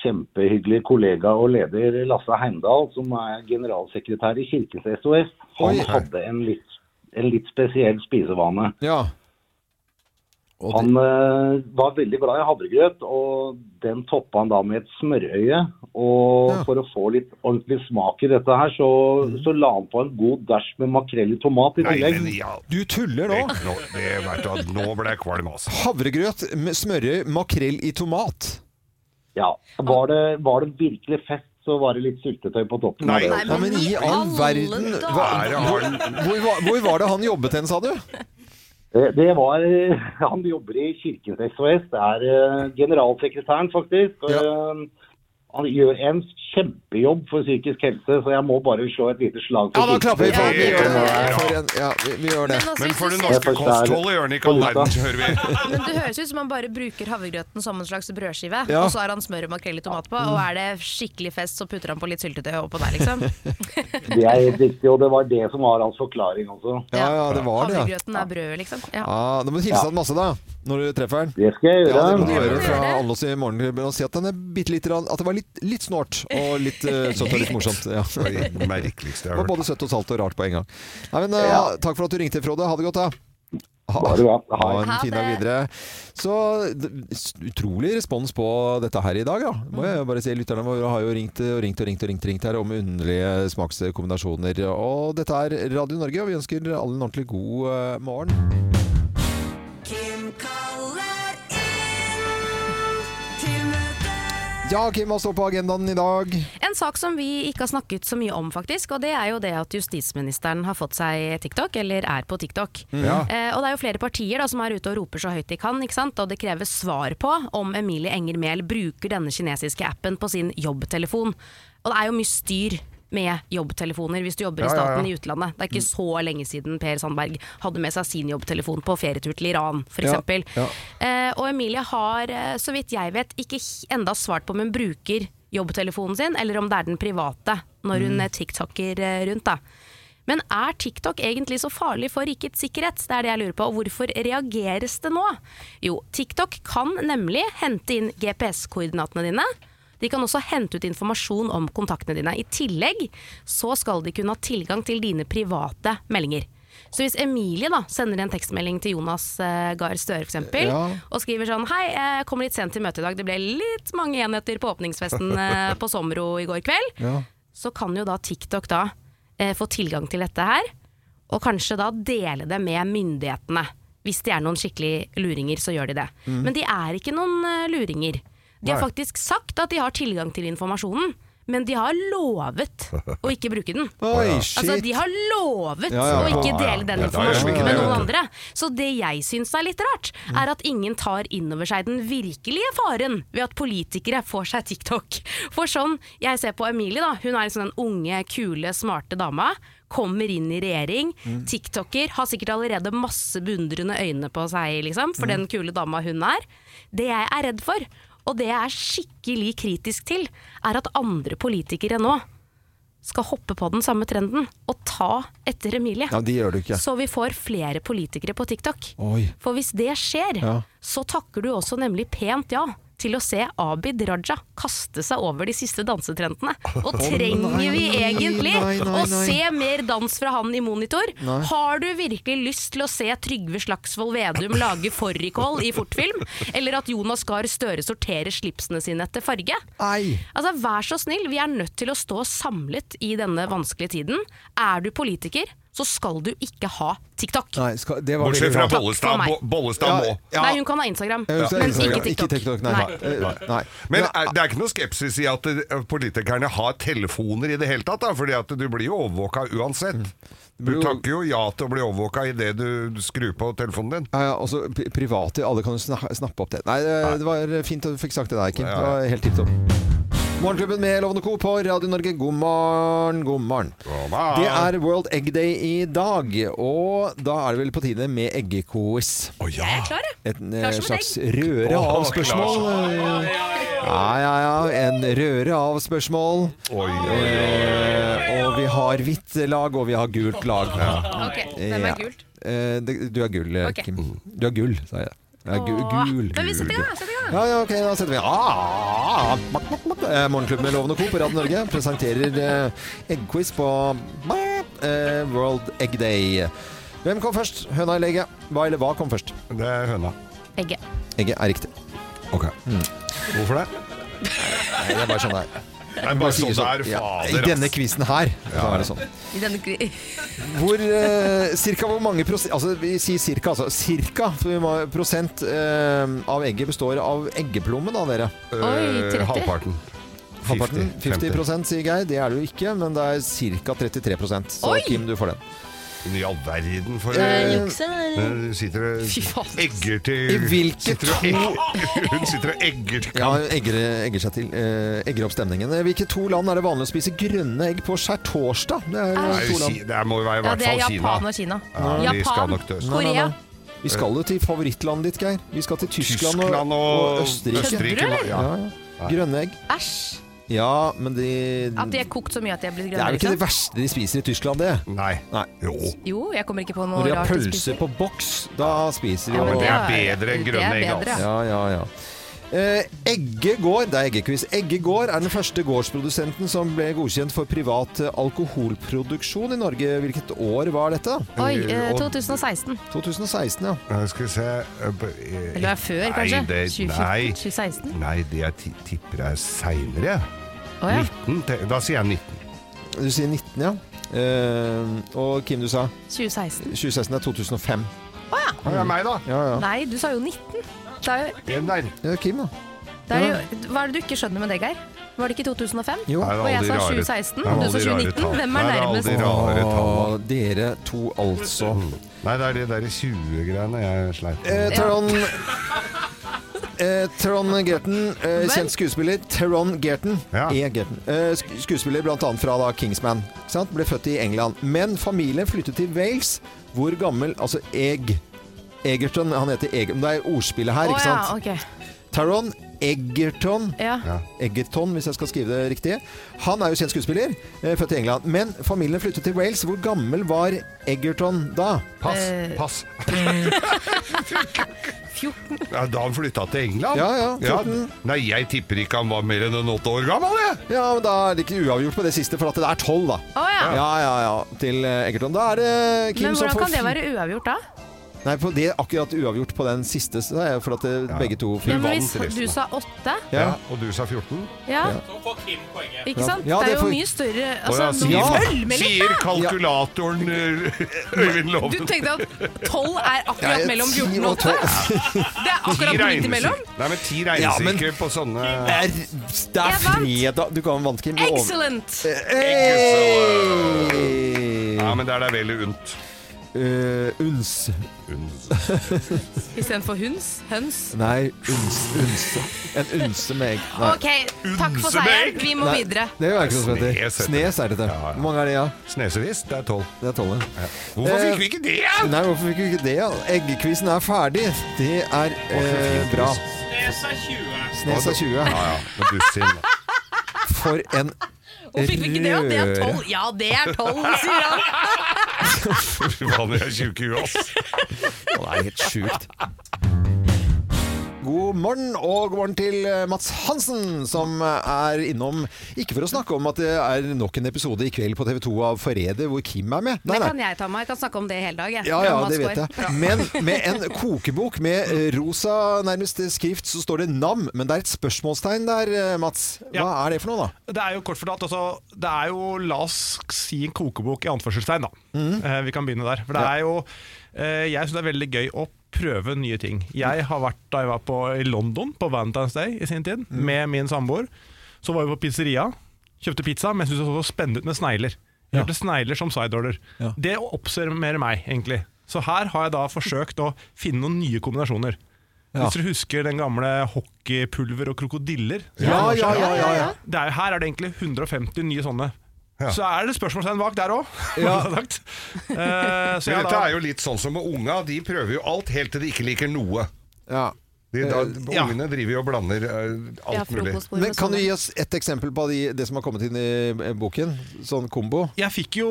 kjempehyggelig kollega og leder, Lasse Heimdal, som er generalsekretær i Kirkens SOS. Han Oi. hadde en litt, en litt spesiell spisevane. Ja. Og Han eh, var veldig glad i havregrøt, og den toppa han da med et smørøye. Og Ja. Mm. for å få litt ordentlig smak i dette her, så, så la han på en god dæsj med makrell i tomat i Nei, tillegg. men ja, Du tuller nå! nå, det vet du, at nå ble jeg kvalm, altså. Havregrøt, med smørøy, makrell i tomat. Ja. Var det, var det virkelig fest, så var det litt syltetøy på toppen. av Nei. det. Nei, Ja, men i all verden dager! hva er det han- hvor, var- hvor var det han jobbet hen, sa du? Det det var (laughs) Han jobber i Kirkens SOS. Det er eh, generalsekretæren, faktisk. Og, eh, Han gjør en kjempejobb for psykisk helse, så jeg må bare slå et lite slag Ja, for da klapper vi for Ja, vi gjør det. det. For en, ja, vi, vi gjør det. Men, altså, Men hvis for du det ser- norske norske kostholdet gjør han ikke all verden, hører vi. men det høres ut som han bare bruker havregrøten som en slags brødskive, Ja. og så har han smør og makrell i tomat på, og er det skikkelig fest, så putter han på litt syltetøy oppå der, liksom. Det er helt riktig, og det var det som var hans forklaring også. Ja, ja, det var det. ja. Havregrøten er brødet, liksom. Ja. Ja, da må du hilse han masse, da, når du treffer han. Det skal Ja, jeg gjøre. det må du Ja, gjøre fra det. alle oss i morgenklubben og si at, den er bitte litt, rann- at det var litt, litt snålt og litt eh, søtt (laughs) og litt morsomt. Ja. Det Det er det merkeligste jeg var har hørt. både søtt og salt og rart på en gang. Nei, men, eh, Ja. Takk for at du ringte, Frode. Ha det godt, da. Ha, Bare bra. ha Ha en det. fin dag videre. Så d- s- utrolig respons på dette her i dag, da. Må jeg bare si, Lytterne våre har jo ringt og ringt og ringt og ringt, og ringt her om underlige smakskombinasjoner. Og dette er Radio Norge, og vi ønsker alle en ordentlig god eh, morgen. Kim kaller inn til møte. Ja, Kim, hva står på agendaen i dag? En sak som vi ikke har snakket så mye om, faktisk, og det er jo det at justisministeren har fått seg TikTok, eller er på TikTok. Eh, og det er jo flere partier da, som er ute og roper så høyt de kan, ikke sant? og det kreves svar på om Emilie Enger Mehl bruker denne kinesiske appen på sin jobbtelefon. Og det er jo mye styr med jobbtelefoner hvis du jobber i staten i utlandet. Det er ikke så lenge siden Per Sandberg hadde med seg sin jobbtelefon på ferietur til Iran, f.eks. Ja, eksempel. ja. Eh, og Emilie har, eh, så vidt jeg vet, ikke h- enda svart på om hun bruker jobbtelefonen sin, eller om det er den private, når hun eh, tiktoker eh, rundt. da. Men er TikTok egentlig så farlig for rikets sikkerhet? Det er det jeg lurer på. Og hvorfor reageres det nå? Jo, TikTok kan nemlig hente inn GPS-koordinatene dine. De kan også hente ut informasjon om kontaktene dine. I tillegg så skal de kunne ha tilgang til dine private meldinger. Så hvis Emilie da sender en tekstmelding til Jonas eh, Gahr Støre f.eks. eksempel, Ja. og skriver sånn Hei, jeg kom litt sent til møtet i dag. Det ble litt mange enheter på åpningsfesten eh, på Somro i går kveld. Så kan jo da TikTok da eh, få tilgang til dette her, og kanskje da dele det med myndighetene. Hvis de er noen skikkelig luringer, så gjør de det. Men de er ikke noen eh, luringer. De har faktisk sagt at de har tilgang til informasjonen, men de har lovet å ikke bruke den. Oi, shit! Altså, de har lovet Ja, ja, å ikke ja, ja. dele den Ja, da gjør vi informasjonen ikke med det, noen vet andre. Så det jeg syns er litt rart, er at ingen tar inn over seg den virkelige faren ved at politikere får seg TikTok. For sånn, jeg ser på Emilie, da. Hun er liksom den unge, kule, smarte dama. Kommer inn i regjering. Mm. TikToker har sikkert allerede masse beundrende øyne på seg, liksom, for Mm. den kule dama hun er. Det jeg er redd for, og det jeg er skikkelig kritisk til, er at andre politikere nå skal hoppe på den samme trenden og ta etter Emilie. Ja, de gjør det ikke. Så vi får flere politikere på TikTok. Oi. For hvis det skjer, Ja. så takker du også nemlig pent ja til å se Abid Raja kaste seg over de siste dansetrendene. Og trenger nei, vi egentlig nei, nei, å nei. se mer dans fra han i monitor? Har du virkelig lyst til å se Trygve Slagsvold Vedum lage fårikål i fortfilm? Eller at Jonas Gahr Støre sorterer slipsene sine etter farge? Ei! Altså, Vær så snill, vi er nødt til å stå samlet i denne vanskelige tiden. Er du politiker, så skal du ikke ha TikTok. Nei, skal, det var Bortsett veldig fra bra. Takk for Bollestad. meg. Bo- Bollestad må. Ja. Nei, hun kan ha Instagram, Ja, så men Instagram. ikke TikTok. Ikke TikTok nei. Nei. Eh, nei. Men er, det er ikke noe skepsis i at eh, politikerne har telefoner i det hele tatt, da, fordi at du blir jo overvåka uansett. Du Mm. blir jo- takker jo ja til å bli overvåka idet du skrur på telefonen din. Ja, ja, også pri- private, alle kan jo sna- snappe opp det. Nei, eh, det var fint at du fikk sagt det der, Kim. Det Ja, ja. var helt tipp topp. Morgenklubben med Lovende Co. på Radio Norge, god morgen, god morgen. God morgen. Det er World Egg Day i dag, og da er det vel på tide med eggequiz. Å ja! Jeg er klar, jeg. Et eh, Klar som et slags røre Å, av spørsmål. Ja, ja, ja. En røre av spørsmål. Oi, oi, Eh, og vi har hvitt lag, og vi har gult lag. Ok, hvem Ja. er gult? Eh, det- Du er gull, eh, Ok. Kim. Du er gull, sa jeg. Jeg er gu- Åh, gul. Men vi setter i gul. gang, setter i gang. Ja, ja, ok, da setter vi ah, mak, mak, mak. Eh, Morgenklubben med Loven og Co. på Radio Norge presenterer eh, eggquiz på eh, World Egg Day. Hvem kom først? Høna eller egget? Hva eller hva kom først? oi. Det er høna. Egget. Egget er riktig. Ok. Hvorfor det? Nei, det er bare sånn det er. Det er Bare bare sier sånn det er. Ja, I Fader, denne quizen her så er det sånn. I denne gri- Hvor, eh, cirka hvor mange prosent Altså, vi sier cirka, altså. Cirka for vi må- prosent eh, av egget består av eggeplommen, da, dere. Oi, 30? Eh, halvparten. Halvparten. 50, 50. sier Geir. Det er det jo ikke, men det er ca. 33 Så Oi! Kim, du får den. I all verden for Hun sitter Fy og faen. egger til I hvilke sitter og to- egger- (laughs) Hun sitter og egger til Ja, egger, egger seg til. Eh, egger opp stemningen. Eh, Hvilke to land er det vanlig å spise grønne egg på skjærtorsdag? Det er Det er jo jo to land. Ki- Det må jo være i Ja, hvert det er fall Kina. Japan og Kina. Ja, vi skal Japan, nok dø. Nei, nei, Korea. nei. Vi skal jo til favorittlandet ditt, Geir. Vi skal til Tyskland, og, Tyskland og, og Østerrike. Østerrike, Østerrike Ja, ja. ja. Grønne egg. Æsj! Ja, men de At de er kokt så mye at de er blitt Det er vel grønne. ikke det Liksom. verste de spiser i Tyskland, det. Nei. Nei. Jo. Jo, jeg kommer ikke på Når noe de har rart å pølser spise. på boks, da spiser de jo Ja, men det er Ja, bedre enn det er grønne egg. bedre, Altså. Ja, ja, ja. Eh, Egge gård, det er eggekviss. Egge gård er den første gårdsprodusenten som ble godkjent for privat eh, alkoholproduksjon i Norge. Hvilket år var dette? da? Oi, eh, 2016. 2016, ja. Ja, Skal vi se eh, b- eh, Eller det er før, Nei, kanskje? det, nei. 2014? 2016? nei, det jeg ti- tipper er seinere. Å ja. 19. te- Da sier jeg 19. Du sier 19, ja. Eh, og Kim, du sa 2016. 2016 er 2005. Ja, det er meg, da. Ja, ja. Nei, du sa jo 19. Det er jo, Den der. ja Kim, da. det er jo, hva er det du ikke skjønner med det, Geir? Var det ikke 2005? Jo. Nei, det er Og jeg alle sa de rare- det 2016, er du alle sa de rare 2019. tall. Hvem er Nei, det alle nærmest? de rare tallene. Å, dere to, altså. Nei, det er de der 20-greiene jeg sleit Eh, med. Trond eh, Trond Gerten, eh, Vel? kjent skuespiller. Trond Gerten. Ja. E. Gerten. Eh, sk skuespiller bl.a. fra da Kingsman. Ikke sant? Ble født i England. Men familien flyttet til Wales. Hvor gammel Altså Eg. Egerton. Han heter Egerton. Det er ordspillet her, Å ikke ja, sant? ok. Taron Egerton. Ja. Egerton, hvis jeg skal skrive det riktig. Han er jo kjent skuespiller, eh, født i England. Men familien flyttet til Wales. Hvor gammel var Egerton da? Pass, eh, pass. 14. Ja, da han flytta til England? Ja, ja, 14. Nei, jeg tipper ikke han var mer enn en åtte år gammel, jeg. Ja, men da er det ikke uavgjort på det siste, for at det er tolv, da. Å ja. Ja, ja, ja. Til eh, Egerton. Da er det Kim Men som hvordan får kan det fi- være uavgjort da? Nei, på det er akkurat uavgjort på den siste, så er jeg for at det, begge to Ja, fikk men vant hvis resten, du da. sa 8, Ja. Ja, og du sa 14? ja, Så får Kim poenget. ikke Ja. sant? Ja, det det er jo får- mye større Å, altså, ja, nå- sier- Følg med litt, Sier da! kalkulatoren eh, Øyvind Du Loven. tenkte at 12 er akkurat Ja, mellom ti 14 og og 8? Det er (laughs) Ti akkurat midt imellom? regnestykker- Nei, men ti Ja, men- regnestykker på sånne Det er, det er Jeg vant. fredag Du kan vant, Kim. Du over- Excellent! Eh. Hey! Ja, men der det er vel unt. Eh, uns. Istedenfor hunds, høns. Nei, uns, unse. En unse med egg. Nei. Ok, takk for seieren. Vi må Nei, videre. Det gjør jeg ikke noe som heter. Snes heter det. Snes er dette. Ja, ja. Hvor mange er det, ja? Snesevis, det er tolv. Det er tolv. ja. Hvorfor Eh, fikk vi ikke det? ja? Nei, hvorfor fikk vi ikke det? Ja? Eggquizen er ferdig. Det er eh, fin bra. quiz. Nes er 20. Snes er 20. Ja, ja. Med (laughs) bussen. For (laughs) en Hvorfor fikk vi ikke det? Ja, det er 12. Ja, det er 12, sier (laughs) han. Fy faen, jeg er tjukk i huet, ass. Det er helt sjukt. God god morgen, og god morgen til eh, Mats Hansen, som eh, er innom Ikke for å snakke om at det er nok en episode i kveld på TV 2 av Forræder, hvor Kim er med. Det kan jeg ta meg. Jeg kan snakke om det hele dag. Jeg. Ja, ja, Om hans det vet går. jeg. Men med en kokebok med eh, rosa nærmest skrift, så står det NAM. Men det er et spørsmålstegn der, eh, Mats. Hva Ja. er det for noe, da? Det er jo kort fortalt altså, Det er jo, la oss si en kokebok i anførselstegn, da. Mhm. Eh, vi kan begynne der. For det er jo eh, Jeg syns det er veldig gøy å prøve nye ting. Jeg har vært da jeg var på, i London på Valentine's Day i sin tid, Mm. med min samboer. Så var vi på pizzeria, kjøpte pizza, men syntes det så spennende ut med snegler. Jeg Kjøpte snegler som sideorder. Ja. Det oppsummerer meg, egentlig. Så her har jeg da forsøkt å finne noen nye kombinasjoner. Ja. Hvis dere husker den gamle hockeypulver og krokodiller? Ja, ja, ja, ja, ja. det er, her er det egentlig 150 nye sånne. Så er det spørsmålstegn bak der òg. Ja. Eh, så Men jeg dette da, er jo litt sånn som med unga. De prøver jo alt helt til de ikke liker noe. Ja. De, da, Eh, ja. Ungene driver jo og blander eh, Vi har alt mulig. frokostbord sånn. Men med Kan du sånne. gi oss et eksempel på de, det som har kommet inn i eh, boken? Sånn kombo? (laughs) jeg fikk jo,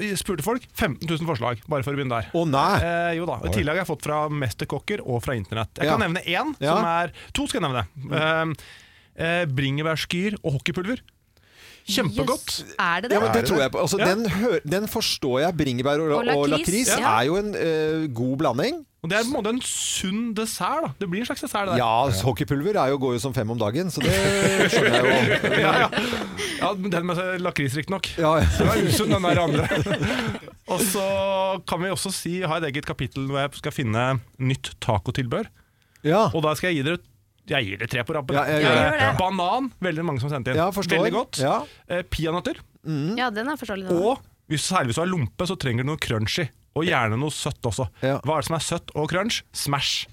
jeg spurte folk, 15 000 forslag, bare for å begynne der. Å nei! Eh, jo da, I tillegg har jeg fått fra mesterkokker og fra internett. Jeg Ja. kan nevne én, Ja. som er To skal jeg nevne. Eh, eh, Bringebærskyr og hockeypulver. Kjempegodt. Yes. Er det det? Ja, men det det tror jeg på. Altså, Ja. den, hø den forstår jeg. Bringebær og, Og og lakris, lakris ja. er jo en eh, god blanding. Og Det er på en måte en sunn dessert. da Det blir en slags dessert. det der. Ja, altså, hockeypulver er jo, går jo som fem om dagen, så det Eh. skjønner jeg jo. ja, ja. ja den med lakris, riktignok. Ja, Det var usunn, den der andre. (laughs) Og så kan vi også si, ha et eget kapittel hvor jeg skal finne nytt tacotilbør. ja. Og da skal jeg gi dere jeg gir dere tre på rappen. Ja, jeg gjør det. Ja. Banan, veldig mange som sendte inn. Ja, forstår. Veldig godt. Ja. Eh, Peanøtter. Ja, den er forståelig. den. Og hvis, særlig hvis du har lompe, så trenger du noe crunchy. Og gjerne noe søtt også. Ja. Hva er det som er søtt og crunch? Smash.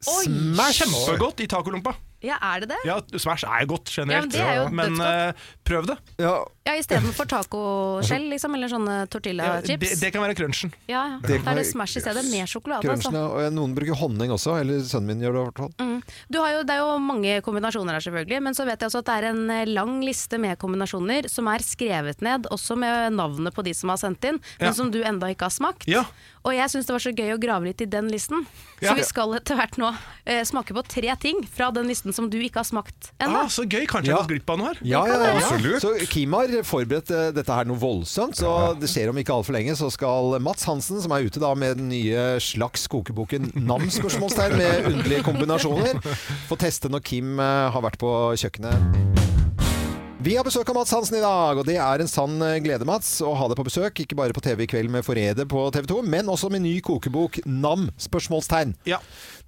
Smash! Kjempegodt i tacolompa. Ja, er det det? Ja, Smash er godt Ja, men generelt, det er jo men dødsgodt. eh, prøv det. Ja, Ja, Istedenfor (laughs) tacoskjell, liksom, eller sånne tortillachips. det. Det kan være crunchen. Ja, ja. Da er det Smash i stedet. Mer sjokolade, altså. Crunchene, og noen bruker honning også, eller sønnen min gjør det i hvert fall. Du har jo, det er jo mange kombinasjoner her, selvfølgelig. Men så vet jeg også at det er en eh, lang liste med kombinasjoner som er skrevet ned, også med navnet på de som har sendt inn, men Ja. som du enda ikke har smakt. Ja. Og jeg syns det var så gøy å grave litt i den listen. Så Ja. vi skal etter hvert nå eh, smake på tre ting fra den listen som du ikke har smakt ennå. Ah, så gøy! Kanskje jeg Ja. har gått glipp av noe her. Ja, ja, ja. Absolutt. Så Kim har forberedt eh, dette her noe voldsomt, så det skjer om ikke altfor lenge. Så skal Mats Hansen, som er ute da med den nye slags kokeboken Nam? spørsmålstegn med underlige kombinasjoner, få teste når Kim eh, har vært på kjøkkenet. Vi har besøk av Mats Hansen i dag, og det er en sann eh, glede, Mats, å ha deg på besøk. Ikke bare på TV i kveld med Forræder på TV 2, men også med ny kokebok Nam? spørsmålstegn. Ja.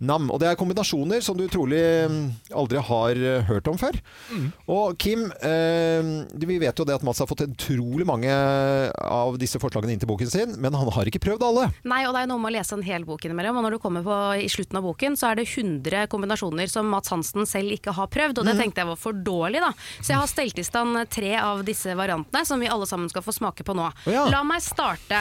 Nam. Og det er kombinasjoner som du trolig mm, aldri har eh, hørt om før. Mm. Og Kim, eh, vi vet jo det at Mats har fått utrolig mange eh, av disse forslagene inn til boken sin, men han har ikke prøvd alle. Nei, og det er noe med å lese en hel bok innimellom. Og når du kommer på, i slutten av boken, så er det 100 kombinasjoner som Mats Hansen selv ikke har prøvd, Mm. og det tenkte jeg var for dårlig, da. Så jeg har stelt i stand tre av disse variantene, som vi alle sammen skal få smake på nå. Å, ja. La meg starte.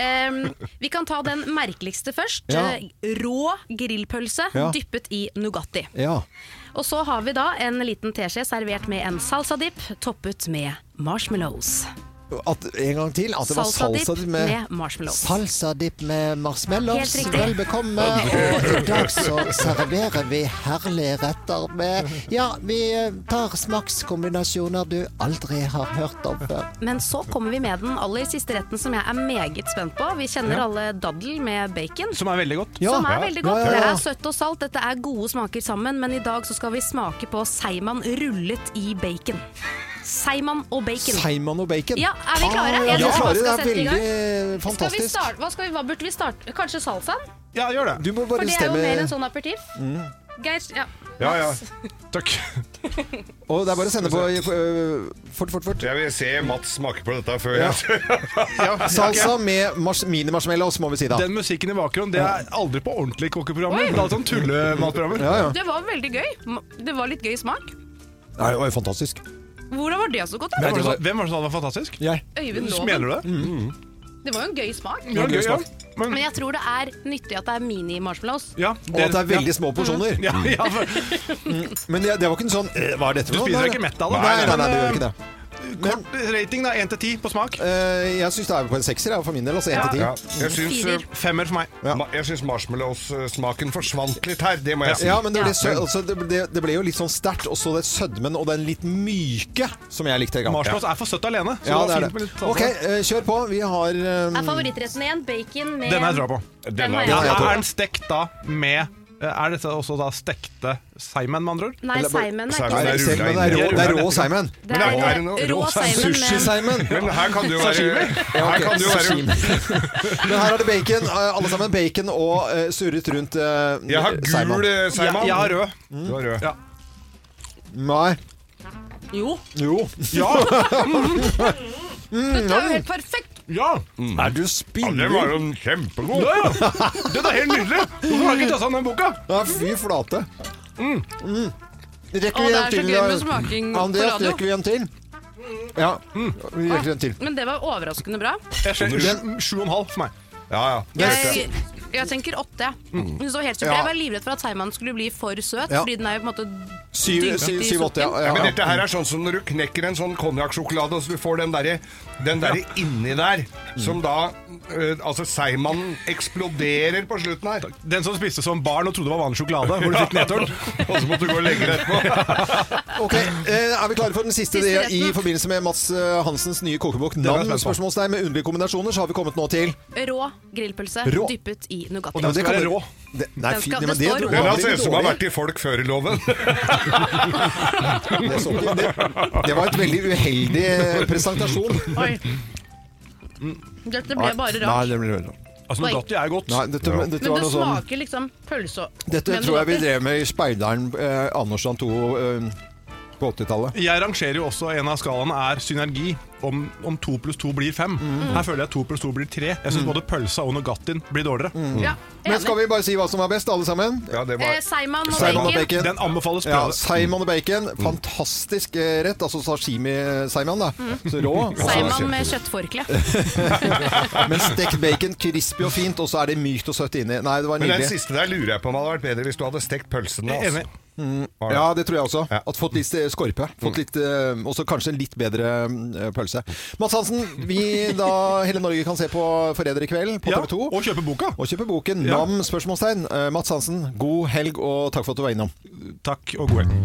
Ehm, vi kan ta den merkeligste først. Ja. Eh, Rå grillpølse Ja. dyppet i Nugatti. Ja. Og så har vi da en liten teskje servert med en salsadipp toppet med marshmallows. At, en gang til. At det var Salsadipp salsa dip med med marshmallows. Salsadipp med marshmallows. Helt riktig. Vel bekomme. Og i dag så serverer vi herlige retter med Ja, vi eh, tar smakskombinasjoner du aldri har hørt om før. Men så kommer vi med den aller siste retten som jeg er meget spent på. Vi kjenner alle daddel med bacon. Som er veldig godt. Ja. Som er Ja. veldig Ja, godt. ja, ja. Det er søtt og salt, dette er gode smaker sammen, men i dag så skal vi smake på Seiman rullet i bacon. Seiman og bacon. Seiman og bacon. Ja, er vi klare? Ah, Ja, Er dere vi er klare. klare? Det er Skal sette i gang? veldig eh, Skal vi fantastisk. starte, hva, skal vi, hva burde vi starte? Kanskje salsaen? Ja, gjør det. Du må For bare det er jo bestemme. mer en sånn aperitiff. Mm. Geir, ja. Ja, ja. Takk. Og det er bare å sende på øh, fort, fort, fort. Jeg vil se Mats smake på dette før Ja. jeg Salsa med mars mini-marshmallows, må vi si da. Den musikken i bakgrunnen, det er aldri på ordentlige kokkeprogrammer. Det er alt sånn tullematprogrammer. Ja, ja. Det var veldig gøy. Det var litt gøy smak. Nei, det var jo fantastisk. Hvordan var det så godt? da? Hvem var det som- hvem var det som sa det var fantastisk? Jeg. Øyvind Loven. Mm. Mener du det? Mm. Det var jo en gøy smak. Ja, gøy, ja. Men, Men jeg tror det er nyttig at det er mini-marshmallows. ja, Og at det er veldig små porsjoner. ja, (laughs) ja, for, Men det, det var ikke en sånn øh, Hva er dette Du for noe? spiser ikke mett av det. Nei, nei, nei, det gjør ikke det. Kort rating, da. Én til ti på smak. Eh, jeg syns det er på en sekser, jeg, for min del. Altså én til Ja, ti. jeg syns, eh, Femmer for meg. ma- jeg syns marshmallows-smaken forsvant litt her, det må jeg si. Ja, men det ble, sø altså, det, det, det ble jo litt sånn sterkt, og så det sødmen og den litt myke som jeg likte. Gammel. Marshmallows er for søtt alene. Så Ja, det det var er fint med det. litt sånn. salsa. Ok, eh, kjør på. Vi har eh, Er favorittretten igjen bacon med Denne har jeg troa på. Den har jeg. Ja, Ja, jeg tror er det. den stekt da med eh, Er dette også da stekte seigmenn, med andre ord? Nei, Eller bare- Simon er Simon ikke Nei, er det er rå- rulla inn i- det er rå Simon. Det Men er- er er det noe eh, rå rå Simon med Sushi-Simon. Men her kan det jo være Her kan det jo være Men her er det bacon. eh, Alle sammen bacon og eh, surret rundt uh, Jeg har gul eh, Jeg, Seiman. jeg har rød. Du har rød. Ja. Nei. Jo, Jo. Ja! Mm. dette er jo helt perfekt! ja. Er du Ja, spinner? Den var jo kjempegod. ja, (laughs) ja. Den er helt nydelig! Hvorfor har jeg ikke tassa den boka? Ja, fy flate. Mm. Rekker Å, vi det en er så til? gøy med da? smaking på Andreas, radio. rekker vi en til? Ja, Mm. vi rekker en til. Men det var overraskende bra. Jeg ser sju- sju og en halv for meg. Ja, ja. Jeg, jeg tenker åtte. Hun så helt super. Mm. Ja. Jeg var livredd for at Simon skulle bli for søt, Ja. fordi den er jo på en måte Syv, Dypt syv, i syv åtte, ja. sokken. ja, Men ja. dette her er sånn som når du knekker en sånn konjakksjokolade, og så du får den derre den derre inni der, Mm. som da eh, Altså, seigmannen eksploderer på slutten her. Den som spiste som barn og trodde det var vanlig sjokolade, hvor du fikk nedtørn. (laughs) Og så måtte du gå og legge deg etterpå. (laughs) Ok, eh, Er vi klare for den siste, Siste i retten. forbindelse med Mats eh, Hansens nye kokebok? Navn, spørsmålstegn med underlige kombinasjoner, så har vi kommet nå til rå grillpølse Rå. dyppet i Og Nugatti. det skal kan være du- rå. Det, nei, Den fy, skal- nei, men det det står tror jeg Den blir her ser ut som har dårlig. vært i folk før i loven. det, så ikke- det, det var et veldig uheldig eh, presentasjon. Oi. Dette ble bare Mm. Nei, rart. det blir veldig rart. Altså, Nugatti er jo godt. Nei, dette, dette Men var det noe sånn smaker liksom pølse og Dette Men tror jeg vi Nugatti- drev med i Speideren eh, Andersson 2 eh, på 80-tallet. Jeg rangerer jo også en av skalaene er synergi. Om, om to pluss to blir fem. Her føler jeg at to pluss to blir tre. Jeg syns Mm. både pølsa og Nugattien blir dårligere. Ja, Men skal enig. vi bare si hva som var best, alle sammen? Ja, det Eh, var Simon og Simon og bacon. bacon. Den anbefales Ja, prøve. Simon og bacon. Fantastisk eh, rett. Altså sashimi-Simon, da. Så rå. Mm. Simon med kjøttforkle. Men stekt bacon, crispy og fint, og så er det mykt og søtt inni. Nei, det var Men den nydelig. siste der lurer jeg på om hadde vært bedre hvis du hadde stekt pølsene. Jeg er Altså. Enig. Ja, det tror jeg også. Ja. Mm. At fått litt eh, skorpe. Fått litt, eh, også kanskje en litt bedre eh, pølse. Mats Hansen, vi da hele Norge kan se på Forræder i kveld på Ja, TV 2. og kjøpe boka. Og kjøpe boken Ja. Nam? spørsmålstegn. Eh, Mats Hansen, god helg og takk for at du var innom. Takk og god helg.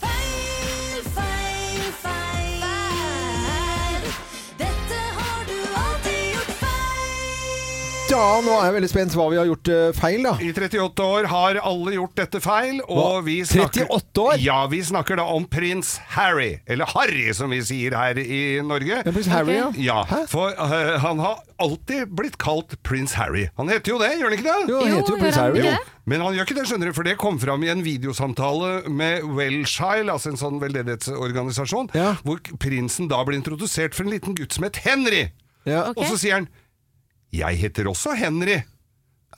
Feil, feil, feil, feil. Dette har du alltid gjort feil. Ja, nå er jeg veldig spent hva vi har gjort eh, feil, da. I 38 år har alle gjort dette feil, og Hva? vi snakker 38 år? Ja, vi snakker da om prins Harry, eller Harry som vi sier her i Norge. Ja, Prins Harry, ja. Ja, for eh, han har alltid blitt kalt prins Harry. Han heter jo det, gjør han ikke det? Jo, han heter jo prins Harry. Men han gjør ikke det, skjønner du, for det kom fram i en videosamtale med Welshile, altså en sånn veldedighetsorganisasjon, Ja. hvor prinsen da ble introdusert for en liten gutt som het Henry. Ja. Ok. Og så sier han 'Jeg heter også Henry',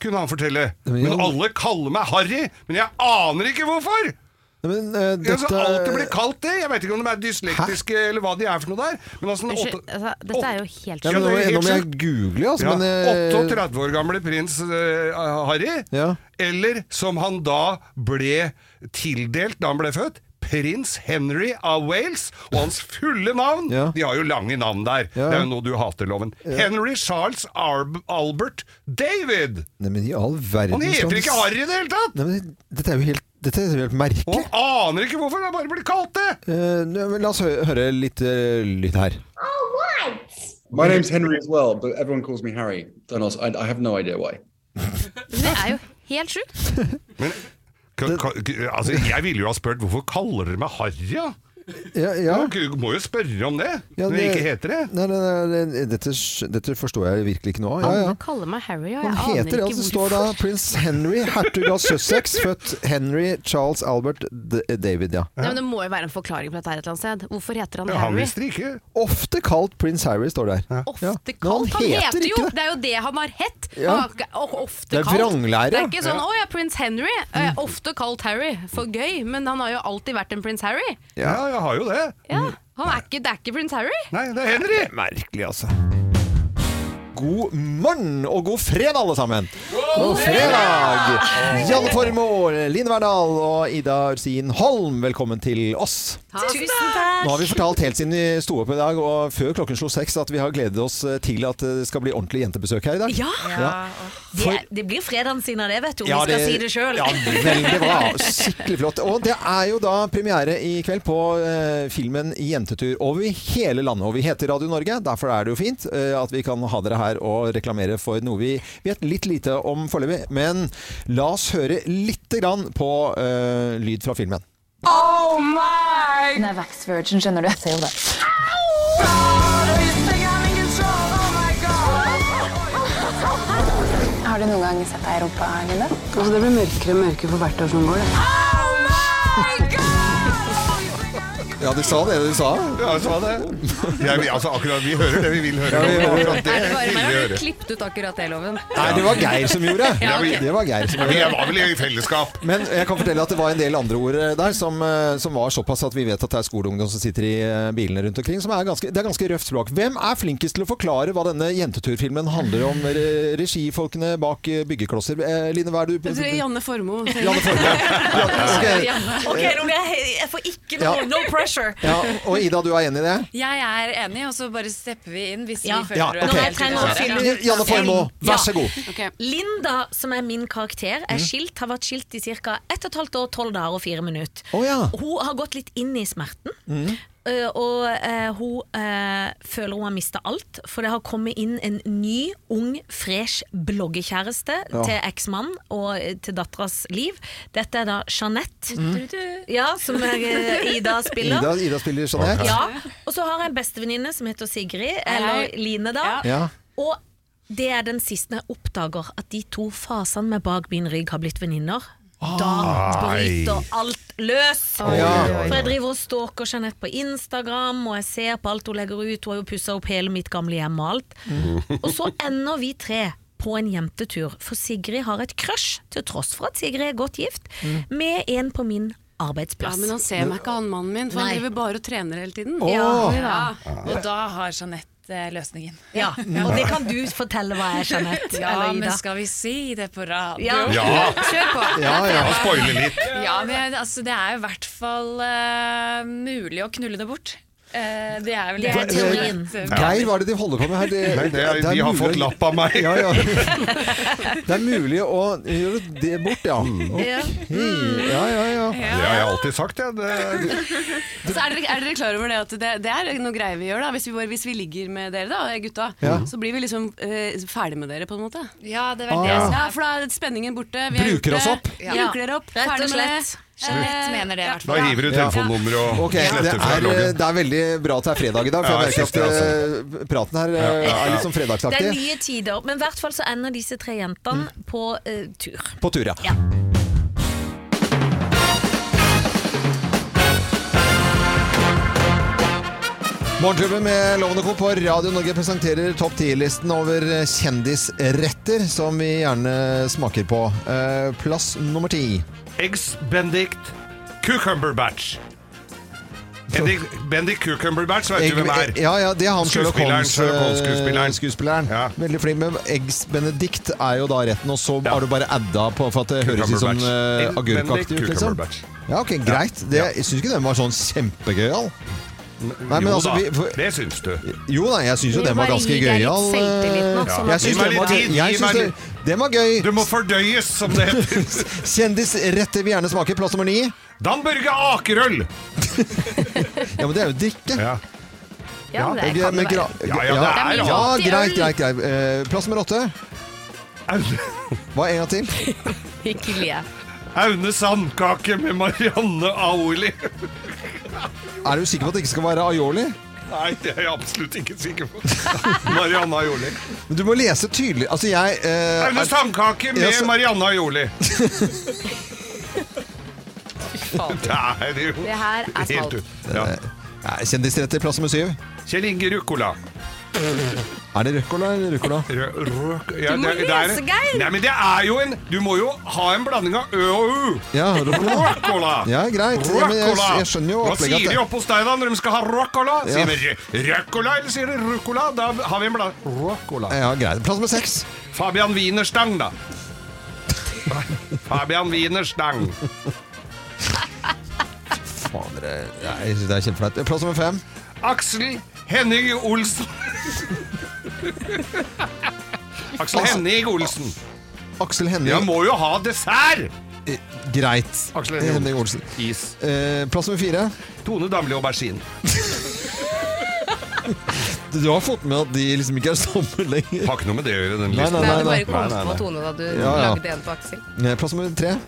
kunne han fortelle. Men jo- Men alle kaller meg Harry, men jeg aner ikke hvorfor! Nei, Men eh, Jeg har dette alltid blitt kalt det. Jeg veit ikke om de er dyslektiske eller hva de er for noe der. Men altså, den Unnskyld, åtte- altså, dette er jo helt ja, men Ja, nå, det er helt nå må jeg google, altså. ja, men, eh, 38 år gamle prins eh, Harry, Ja. eller som han da ble tildelt da han ble født, prins Henry av Wales, og hans fulle navn Ja. De har jo lange navn der. Ja. Det er jo noe du hater, loven. Henry Charles Arb Albert David! Nei, men i all verden Han skal heter han- ikke Harry i det hele tatt! Nei, men dette er jo helt, dette er jo helt merkelig. Og han aner ikke hvorfor, han har bare blitt kalt det! Eh, nå, men la oss hø høre litt eh, lyd her. My name's Henry as well, but everyone calls me Harry. Don't ask, I, I have no idea why. Det er jo helt sjukt. Ka- ka- Altså, jeg ville jo ha spurt hvorfor kaller dere meg Harry, da? Ja, ja. Du må jo spørre om det, Ja, når jeg ikke heter det. Nei, nei, nei, nei, dette, sk- dette forstår jeg virkelig ikke noe av. Ja, ja. Alle kaller meg Harry, og jeg Han aner heter det, ikke altså står hvorfor. da prins Henry, hertug av (laughs) Sussex, født Henry Charles Albert D eh, David, ja. Nei, men det må jo være en forklaring på dette her et eller annet sted. Hvorfor heter han Ja, han Harry? visste det ikke. Ofte kalt prins Harry, står det her. Ja. Ofte Men kalt. Han heter, jo ikke det. er jo det han har hett! Ja. Han har ikke- og ofte Det er kalt. vranglære. Det er ikke sånn 'Å ja, prins Henry'. Mm. Jeg er ofte kalt Harry. For gøy. Men han har jo alltid vært en prins Harry. Ja, jeg har jo det. Mm. Ja. Han er ikke, det er ikke prins Harry. Nei, det er Henry. Merkelig, altså. God morgen og god fred, alle sammen! God fredag! Janne Formoe, Line Verdal og Ida Ørsin Holm, velkommen til oss. Tusen takk! Nå har vi fortalt helt siden vi sto opp i dag og før klokken slo seks at vi har gledet oss eh, til at det skal bli ordentlig jentebesøk her i dag. Ja. Ja. Det, det blir fredagen sin av det, vet du. Om Ja, vi skal si det sjøl. Ja, veldig bra. Skikkelig flott. Og det er jo da premiere i kveld på eh, filmen 'Jentetur' over hele landet. Og vi heter Radio Norge, derfor er det jo fint eh, at vi kan ha dere her og reklamere for noe vi vet litt lite om foreløpig. Men la oss høre lite grann på eh, lyd fra filmen. Hun er Vax Virgin, skjønner du. Jeg ser jo det. Har du noen gang sett deg i rumpa, Line? Altså, det blir mørkere og mørkere for hvert år som går. Det. Ja, du sa det du sa. Ja, jeg sa det. Ja, vi, altså, akkurat, vi hører det vi vil høre. Ja, vi hører det. Akkurat det Er det vil bare vi meg, eller har høre. du klippet ut akkurat det, Loven? Nei, det var Geir som gjorde det. Ja, ok. Det var Geir som gjorde Vi det. var vel i fellesskap. Men jeg kan fortelle at det var en del andre ord der som, eh, som var såpass at vi vet at det er skoleungdom som sitter i eh, bilene rundt omkring. Som er ganske, det er ganske røft språk. Hvem er flinkest til å forklare hva denne jenteturfilmen handler om? Re- Regifolkene bak eh, byggeklosser. Eh, Line, hva er du Altså, Jeg Altså, tror Janne Formoe. (laughs) Janne Formoe. Ja, ok. Ok, Rune, jeg, jeg får ikke noe Ja. No pressure! ja, og Ida, du er enig i det? Jeg er enig, og så bare stepper vi inn hvis Ja. vi Ja, føler ok. Nå, jeg trenger å fylle ut. Janne Formoe, vær så god. Linda, som er min karakter, er skilt, har vært skilt i ca. 1 12 år, 12 dager og 4 minutter. Å ja. Hun har gått litt inn i smerten. eh, og eh, hun eh, føler hun har mista alt, for det har kommet inn en ny, ung, fresh bloggekjæreste Ja. til eksmannen og eh, til datteras liv. Dette er da Jeanette, ja, som eh, Ida spiller. Ida, Ida spiller sånn, Jeanette. Ja. Og så har jeg en bestevenninne som heter Sigrid, eller Line, da. Ja. Og det er den siste jeg oppdager at de to fasene med bak min rygg har blitt venninner. Da bryter alt løs! Ja. For jeg driver og stalker Jeanette på Instagram, og jeg ser på alt hun legger ut. Hun har jo pussa opp hele mitt gamle hjem og alt. Og så ender vi tre på en jentetur, for Sigrid har et crush, til tross for at Sigrid er godt gift, med en på min Ja, arbeidsplass. men han ser meg ikke, han mannen min, for Nei. han driver bare og trener hele tiden. Åh. Ja. Og da har Jeanette eh, løsningen. Ja, Mm. og det kan du fortelle hva er, Jeanette. Ja, eller Ida. men skal vi si det på radio? Ja. Ja. Kjør på! Ja, ja. Han spoiler litt. Ja, men jeg- altså, det er jo i hvert fall eh, mulig å knulle det bort. Eh, det er vel Det er teorien. Geir, hva er det de holder på med her? Det- Nei, det er, det er de har mulig- fått lapp av meg. Ja, ja. Det er mulig å gjøre det bort, ja. Ok. Ja, ja, ja. Det har jeg alltid sagt, jeg. Det, Så er dere, er dere klar over det at det, det er noe greier vi gjør, da? Hvis vi, bare, hvis vi ligger med dere, da, gutta, Ja. så blir vi liksom eh, ferdig med dere, på en måte. Ja, det var det Ah. som Ja, er for da er spenningen borte. Vi er Bruker ute. oss opp. Ja. Ja. Bruker dere opp. Rett og Ferdig med det. slett. Jeanette mener det, i hvert da fall. river du telefonnummeret og Ok, det sletter fra er, loggen. det er veldig bra at det er fredag i dag, for Ja, jeg merker jeg altså. at eh, praten her eh, er litt sånn Det er fredagsaktig. nye tider, men i hvert fall så ender disse tre jentene på eh, tur. På tur, ja. Ja. Morgenklubben med Lovende Co. på Radio Norge presenterer topp 10-listen over kjendisretter som vi gjerne smaker på. Eh, Plass nummer ti. Eggs Bendict Cucumber Batch. Bendik Cucumberbatch, vet Egg- du hvem er? Ja, ja, det er han Sherlock Skuespilleren, Holmes, Sherlock Holmes-skuespilleren. eh, skuespilleren. Ja. Veldig flink. Men Eggs Benedict er jo da retten, og så Ja. har du bare adda på for at det høres litt sånn eh, Eggs Benedict agurkaktig ut, liksom. Cucumberbatch. Ja, ok, greit. Det, jeg syns ikke den var sånn kjempegøyal. Nei, men Jo altså, da, vi, for, det syns du. jo da, jeg syns jo Vi den var bare ganske gir deg litt gøyal. selvtillit nå, eh, sånn Jeg at syns den du- var, Gi meg litt tid, jeg gi syns meg det, den var gøy. Du må fordøyes, som det heter. (laughs) Kjendisretter vi gjerne smaker. Plass nummer ni. Dan Børge Akerøl! Ja, men det er jo drikke. Ja. Ja, det Jeg- kan men det være. gra- Ja, ja, det altså. er ja, alltid øl. greit, greit. greit. Eh, Plass nummer åtte. Aune, Hva er en gang til? Ikke le. Aune Sandkake med Marianne Aoli. Er du sikker på at det ikke skal være aioli? Nei, det er jeg absolutt ikke sikker (laughs) på. Marianne Aioli. Men du må lese tydelig. Altså, jeg eh, Aune er- Sandkake med Ja, så- Marianne (laughs) Aioli. Det er jo Det her er helt salt. ut. Ja. Nei, Kjendisrett til plass nummer syv. Kjell Inge Ruccola. Er det ruccola eller ruccola? Rø røk- ja, Du må det- det er- lese, Geir. Nei, men det er jo en Du må jo ha en blanding av ø og u. Ja, ruccola. Ruccola! Ja, greit. Ja, men jeg, jeg skjønner jo Hva opplegget sier at de det- oppe hos deg da når de skal ha ruccola? Ja. Sier de rø- ruccola, eller sier de Eh. ruccola? Da har vi en blanding. Ruccola. Ja, greit. Plass nummer seks. Fabian Wienerstang, da. Fabian Wienerstang. Faen, dere. Nei, jeg synes det er kjempeflaut. Plass nummer fem. Aksel Henning Olsen. Altså- Aksel Henning Olsen. Aksel Henning. Eh, Jeg må jo ha dessert! Greit. Aksel Henning Olsen. Is. Eh, plass nummer fire. Tone Damli Aubergine. Du har fått med at de liksom ikke er sammen lenger. Har ikke noe med det å gjøre, den Nei, listen. nei, nei, du nei. bare kom Nei, nei, på nei. Tone da du Ja, ja. lagde en på Aksel. Eh, Plass nummer tre.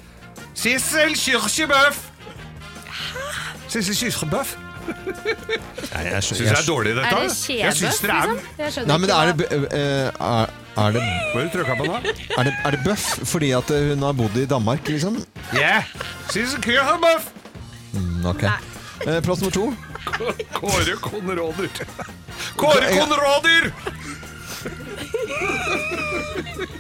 Sissel Kyrkjebøff! Sissel Kyrkjebøff? Nei, jeg Syns jeg er dårlig, dette. altså. Er det Jeg synes kjebøff, dere er- liksom? Jeg skjønner Nei, men ikke er hva- det, b- eh, er, er det Hva er det du trykket på nå? Er det, er det bøff fordi at eh, hun har bodd i Danmark, liksom? Yeah. Sissel Kyrkjebøff! Mm, ok. Eh, plass nummer to. Kåre Konrader. Kåre Konrader!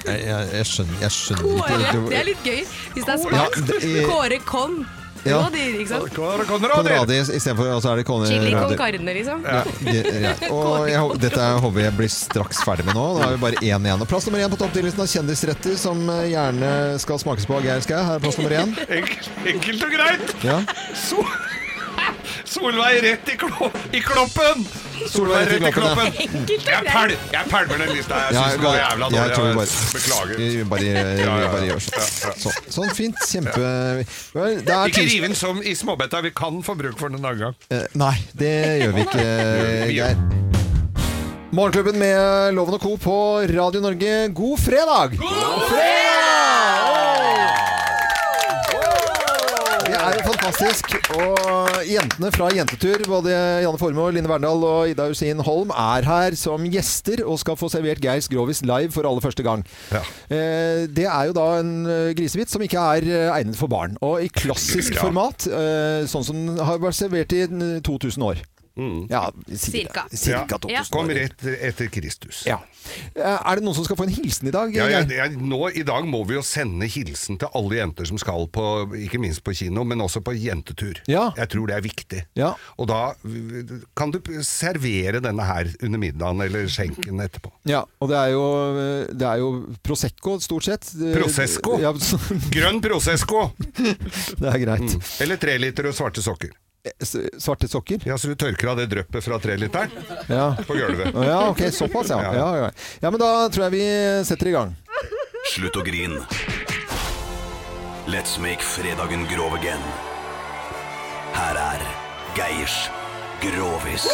Jeg, jeg, jeg skjønner, jeg skjønner Kåre, ikke det er litt gøy hvis det er Ja, spansk. det er- Kåre Con. Ja. Rådyr, ikke sant? Kåre Konradi istedenfor, og så er det Kone Chili con Radi. carne, liksom. Ja, det- (laughs) ja. Og jeg, håper- dette er- håper jeg blir straks ferdig med nå. Nå er vi bare én igjen. Og plass nummer én på topptillitsen av kjendisretter som eh, gjerne skal smakes på av Geir Skau. Her er plass nummer én. Enkelt, enkelt og greit. Ja. Sol Solveig rett i, klo i kloppen! Solveig rett i kloppen, Jeg, pæl jeg pælmer den lista. (laughs) Jeg Ja, syns den var jeg- jævla jeg tror vi dårlig. bare- Beklager. Vi bare, (laughs) ja, vi ja. bare gjør sånn. Så, sånn fint. Kjempe... Vel, det er Ikke tirsdag- riv den som i småbetta. Vi kan få bruk for den en annen gang. Eh, Nei, det gjør vi ikke, Eh, Geir. Morgenklubben med Loven og Co. på Radio Norge, god fredag! God fredag! Det er jo fantastisk. Og jentene fra Jentetur, både Janne Formoe, Line Verndal og Ida Husin Holm, er her som gjester og skal få servert Geirs Grovis live for aller første gang. Eh, Det er jo da en eh, grisebit som ikke er eh, egnet for barn. Og i klassisk Ja. format, eh, sånn som den har vært servert i eh, 2000 år. Ja, cirka. Cirka. Cirka 2000 Ja. Mm. Kom år. rett etter Kristus. Ja. Eh, Er det noen som skal få en hilsen i dag? Ja, Geir? jeg, jeg, nå I dag må vi jo sende hilsen til alle jenter som skal på, ikke minst på kino, men også på jentetur. Ja. Jeg tror det er viktig. Ja. Og da kan du servere denne her under middagen, eller skjenken etterpå. Ja, og det er jo, eh, det er jo Prosecco stort sett. Eh, Prosesco? Ja, (laughs) det Grønn Prosesco! er greit. Eller treliter og svarte sokker. S- Svarte sokker? Ja, Så du tørker av det dryppet fra treliteren Ja. på gulvet. Å ja, ok, såpass, ja. Ja. Ja, ja. ja, men da tror jeg vi setter i gang. Slutt å grin. Let's make fredagen grov again. Her er Geirs Grovis.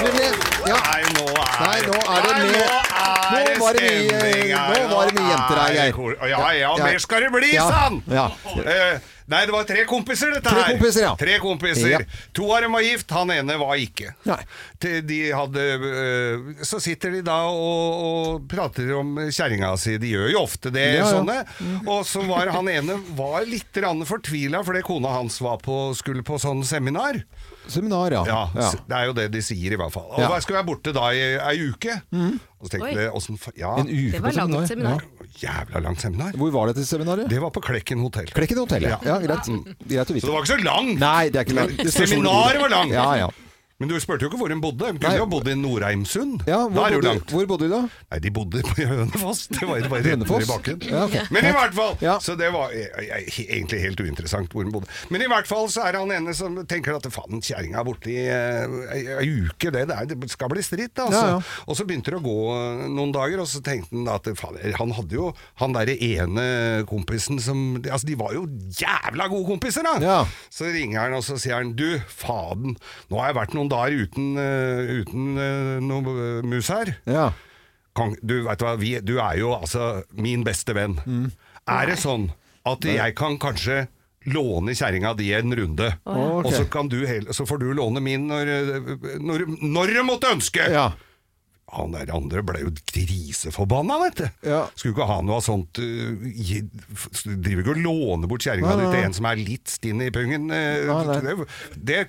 Nemlig. Ja. Nei, nå er, Nei, nå er det Nei, mye- nå er Nå var det mye- stemning her. nå var det mye jenter her, er Geir. det kor- Ja, ja, Ja. mer skal det bli, Ja. sann! Ja. Eh, nei, det var tre kompiser, dette Tre her. kompiser, ja. Tre kompiser. Ja. To av dem var gift, han ene var ikke. Nei. Til De hadde, eh, så sitter de da og, og prater om kjerringa si. De gjør jo ofte det, Ja, Mm. ja. sånne. Og så var han ene var litt grann fortvila fordi kona hans var på, skulle på sånn seminar. Seminar, ja. Ja, ja. s- det er jo det de sier i hvert fall. Og Ja. Mm. jeg skulle være borte da i ei uke. Og så tenkte Oi. jeg, åssen fa- Ja, En uke på Det var seminar. langt seminar. Ja. jævla langt seminar. Hvor var dette seminaret? Det var på Klekken hotell. Klekken hotell, ja. ja greit. greit å Så det vite. var ikke så langt! Nei, det er ikke langt. Det spørs hvor du bor. Seminaret var langt! Ja, ja. Men du spurte jo ikke hvor hun bodde. Hun Nei. kunne jo ha bodd i Nordheimsund. ja da hvor, er det jo bodde, langt. hvor bodde du da? Nei, de bodde på Hønefoss. Det var bare rett Hønefoss? under i bakken. Ja, ok. Men i hvert fall! Ja. Så det var eh, eh, he- egentlig helt uinteressant hvor hun bodde. Men i hvert fall så er han ene som tenker at faen, kjerringa er borte i eh, ei ei uke, det, det, er, det skal bli stritt, altså. Ja, ja. Og så begynte det å gå eh, noen dager, og så tenkte han at faen, han hadde jo han derre ene kompisen som Altså, de var jo jævla gode kompiser, da! Ja. Så ringer han, og så sier han du, faden, nå har jeg vært noen dager uten, eh, uten eh, noe eh, mus her. Ja. Kong, du, vet du, hva, vi, du er jo altså min beste venn. Er det sånn at jeg kan kanskje låne kjerringa di en runde, ja. og så, Ok. kan du hel, så får du låne min når, når, når du måtte ønske? ja. Han der andre ble jo griseforbanna, vet du. Ja. Skulle ikke ha noe av sånt uh, gi, f- Driver ikke og låner bort kjerringa Nei, di nei, til nei. en som er litt stinn i pungen. Uh, Nei, nei. Det, det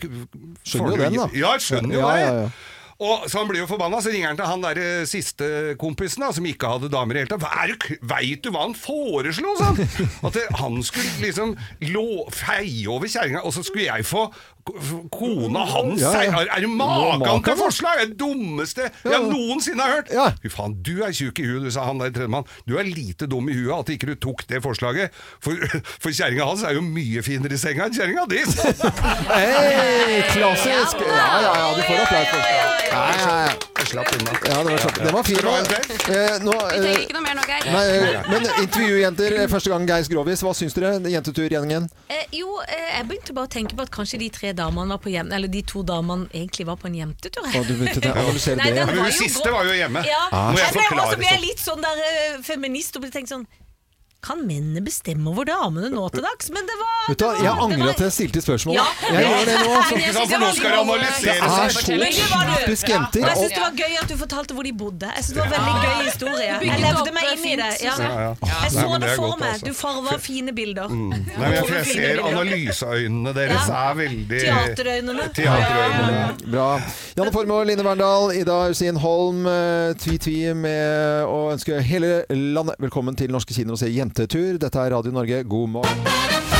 Skjønner jo folk- den, da. Ja, skjønner jo Ja, det. ja, ja. Og, så han blir jo forbanna, så ringer han til han der eh, siste kompisen da, som ikke hadde damer i det hele tatt. Hva er du k- Veit du hva han foreslo, sa (laughs) han? At det, han skulle liksom lå, feie over kjerringa, og så skulle jeg få k- f- kona hans Ja, ja. Er- Er det Makan, makan til ja. forslag? Det er det dummeste Ja. jeg noensinne har hørt! Fy faen, du er tjukk i huet, du, sa han der tredjemann. Du er lite dum i huet at ikke du tok det forslaget. For, for kjerringa hans er jo mye finere i senga enn kjerringa di! (laughs) Hei, klassisk! Ja, ja, ja, du får applaus for det. Ja, ja, ja. Slapp unna. Ja, det var, slapp. Den var fin. Skal du ha en nå. Eh, nå, Vi trenger eh, ikke noe mer nå, Geir. Nei, eh, men intervjujenter, eh, første gang Geir Grovis. Hva syns dere? Jenteturgjengen? Eh, jo, eh, jeg begynte bare å tenke på at kanskje de tre damene var på hjem, eller de to damene egentlig var på en jentetur. Å, du begynte å (laughs) analysere Nei, det, den ja. var Men hun jo siste grå. var jo hjemme. Ja. Ah, Må jeg jeg ble forklare også ble sånn? litt sånn der eh, feminist og ble tenkt sånn Kan mennene bestemme over damene nå til dags? Men det var Vet du, hva, jeg angrer at jeg stilte spørsmålet. Ja. Jeg gjør det nå. altså. Nei, jeg synes det var litt dårlig. Det er så typisk jenter. Og jeg syns det var gøy at du fortalte hvor de bodde. Jeg synes det var en veldig gøy historie. Bygget Jeg levde opp meg det inn i fint, det. Ja. synes jeg. Ja, ja. Jeg Nei, så men det det er for godt, meg. altså. Mm. Du farva fine bilder. Nei, men jeg, for jeg ser analyseøynene deres Ja. er veldig Teaterøynene. Teaterøynene. Bra. Janne Formoe, Line Verndal, Ida Øystein Holm. eh, Tvi-tvi med å ønske hele landet velkommen til norske kinoer og se Jentetur. Dette er Radio Norge, god morgen.